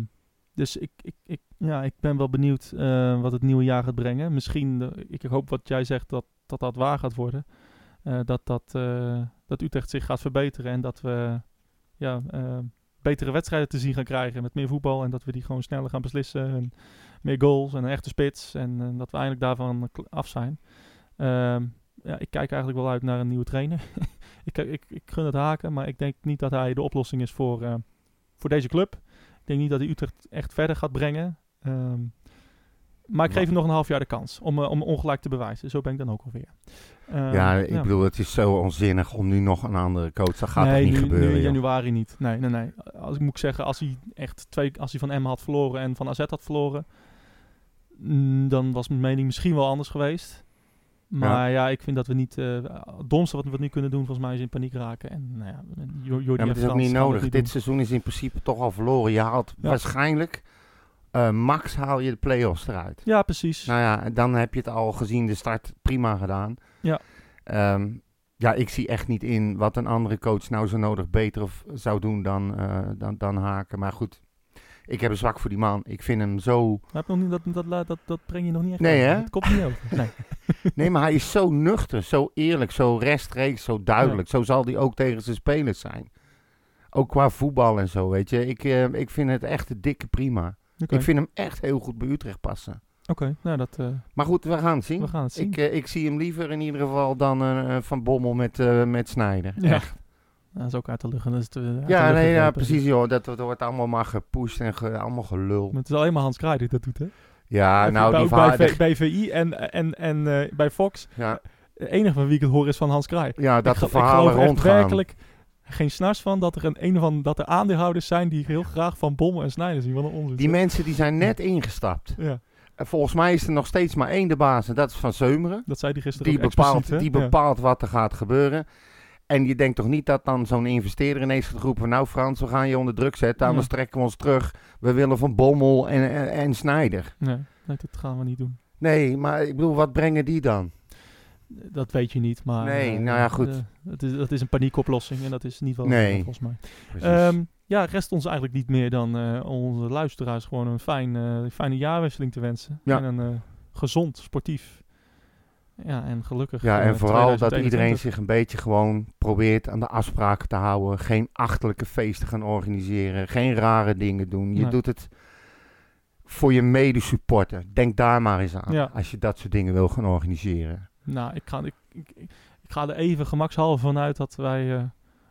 dus ik, ik, ik, ja, ik ben wel benieuwd eh, wat het nieuwe jaar gaat brengen. Misschien, eh, ik hoop wat jij zegt, dat dat, dat waar gaat worden. Eh, dat, dat, eh, dat Utrecht zich gaat verbeteren en dat we ja, eh, betere wedstrijden te zien gaan krijgen met meer voetbal. En dat we die gewoon sneller gaan beslissen. En meer goals en een echte spits. En eh, dat we eindelijk daarvan kl- af zijn. Ehm, ja, ik kijk eigenlijk wel uit naar een nieuwe trainer. [laughs] ik, ik, ik gun het haken, maar ik denk niet dat hij de oplossing is voor, eh, voor deze club. Ik denk niet dat hij Utrecht echt verder gaat brengen. Ehm, maar ik
Wa-
geef hem nog een half jaar de kans om, eh, om ongelijk te bewijzen. Zo ben ik dan ook alweer. Ehm,
ja, ik bedoel, het is zo onzinnig om nu nog een andere coach. Dat gaat
nee,
toch niet
nu,
gebeuren,
nu
joh.
januari niet. Nee, nee, nee. Als ik moet zeggen, als hij echt twee, als hij van M had verloren en van AZ had verloren, mm, dan was mijn mening misschien wel anders geweest. Maar ja, ik vind dat we niet. eh, het domste wat we nu kunnen doen, volgens mij, is in paniek raken. En nou ja, Jo- Jordi
Ja,
en
maar het is ook
Frans
niet
gaan dat
nodig. Dit
doen.
seizoen is in principe toch al verloren. Je haalt
Ja.
waarschijnlijk eh, max haal je de play-offs eruit.
Ja, precies.
Nou ja, en dan heb je het al gezien, de start prima gedaan.
Ja.
Ehm, ja, ik zie echt niet in wat een andere coach nou zo nodig beter of zou doen dan, eh, dan, dan Haken. Maar goed, Ik heb een zwak voor die man. Ik vind hem
[laughs]
zo...
Maar heb je nog niet, dat, dat, la- dat, dat breng je nog niet echt
Nee,
over.
hè?
Het komt niet over.
[laughs]
Nee.
Nee, maar hij is zo nuchter, zo eerlijk, zo rechtstreeks, zo duidelijk. Zo zal hij ook tegen zijn spelers zijn. Ook qua voetbal en zo, weet je. Ik, eh, ik vind het echt een dikke prima.
Oké,
Ik vind hem echt heel goed bij Utrecht passen.
Oké, nou dat, eh,
Maar goed, we gaan het zien.
we gaan het zien.
Ik, eh, ik zie hem liever in ieder geval dan eh, eh, Van Bommel met, eh, met Snijder.
Ja.
Echt.
dat is ook uit de lucht. en Dat is te- uit de
Ja,
lucht
nee, ja,
gegrepen.
precies joh. Dat, dat wordt allemaal maar gepusht en ge- allemaal gelul.
Maar het is alleen maar Hans Kraai die dat doet, hè?
Ja,
Bij-
nou,
bij,
die
ook bij,
verhaal-
V- bij VI en, en, en eh, bij Fox.
ja,
Het enige van wie ik het hoor is van Hans Kraai.
ja, dat
ik,
de
ge- ik
verhalen
geloof echt
rondgaan.
werkelijk geen snars van dat er een, een van dat er aandeelhouders zijn die heel graag van bommen en snijden zien. Wat een onzin.
Die mensen die zijn net ingestapt.
ja,
En volgens mij is er nog steeds maar één de baas en dat is Van Zeumeren.
dat zei die gisteren
Die
ook expliciet,
bepaalt,
hè?
die
Ja.
bepaalt wat er gaat gebeuren. En je denkt toch niet dat dan zo'n investeerder ineens gaat roepen... nou Frans, we gaan je onder druk zetten, anders
Ja.
trekken we ons terug. We willen Van Bommel en, en, en Snijder.
Nee, nee, dat gaan we niet doen.
Nee, maar ik bedoel, wat brengen die dan?
Dat weet je niet, maar...
Nee,
eh,
nou ja, goed.
eh, dat, is, dat is een paniekoplossing en dat is niet wel
Nee.
volgens mij.
Precies.
Ehm, ja, rest ons eigenlijk niet meer dan eh, onze luisteraars gewoon een fijn, eh, fijne jaarwisseling te wensen.
Ja.
En een eh, gezond, sportief. Ja, en gelukkig.
Ja,
eh,
en vooral dat
2021.
iedereen zich een beetje gewoon probeert aan de afspraken te houden. Geen achtelijke feesten gaan organiseren. Geen rare dingen doen. Je
Nee.
doet het voor je medesupporter. Denk daar maar eens aan.
Ja.
Als je dat soort dingen wil gaan organiseren.
Nou, ik ga, ik, ik, ik- ik ga er even gemakshalve vanuit dat wij eh,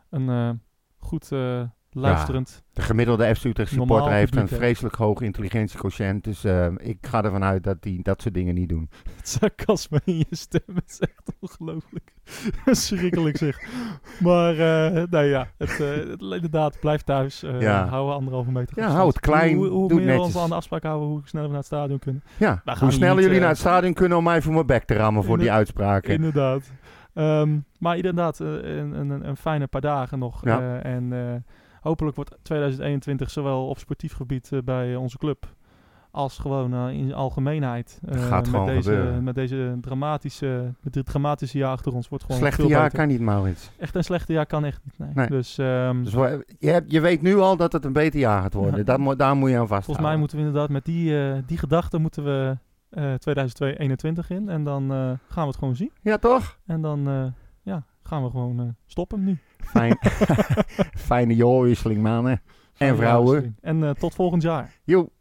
een eh, goed eh, luisterend...
De gemiddelde FC Utrecht
Normaal
supporter heeft een
publiek, hè?
vreselijk hoog intelligentiequotient. Dus eh, ik ga ervan uit dat die dat soort dingen niet doen.
Het sarcasme in je stem is echt ongelooflijk. [laughs] Schrikkelijk zeg. Maar, eh nou ja, het, eh, het- inderdaad, blijf thuis. eh
Ja.
Hou anderhalve meter
Ja,
afstand.
hou het klein,
Hoe, hoe
doe het
meer we ons
netjes.
aan de afspraak houden, hoe sneller we naar het stadion kunnen.
Ja,
Wij gaan
hoe
hier
sneller
niet,
jullie
eh,
naar het stadion kunnen om mij voor mijn bek te rammen voor
in
die
de-
[laughs] uitspraken.
Inderdaad. Ehm, maar inderdaad, eh, een, een, een- een fijne paar dagen nog.
Ja.
eh, en eh, hopelijk wordt 2021 zowel op sportief gebied eh, bij onze club als gewoon eh, in zijn algemeenheid. eh,
gaat
met
gewoon
deze,
gebeuren.
Met deze dramatische, met dit dramatische jaar achter ons wordt gewoon
Slechte
veel
jaar
beter.
kan niet, Maurits.
Echt een slechte jaar kan echt niet. Nee.
Nee.
Dus ehm,
Dus wa- je, hebt- je weet nu al dat het een beter jaar gaat worden.
Ja.
Dat mo- daar moet je aan vasthouden.
volgens mij moeten we inderdaad met die, eh, die gedachte moeten we eh 2021 in. En dan eh, gaan we het gewoon zien.
Ja, toch?
En dan eh, ja, gaan we gewoon eh, stoppen nu.
[laughs] Fijn. Fijne jaarwisseling, mannen. En vrouwen.
En eh, tot volgend jaar.
Joep.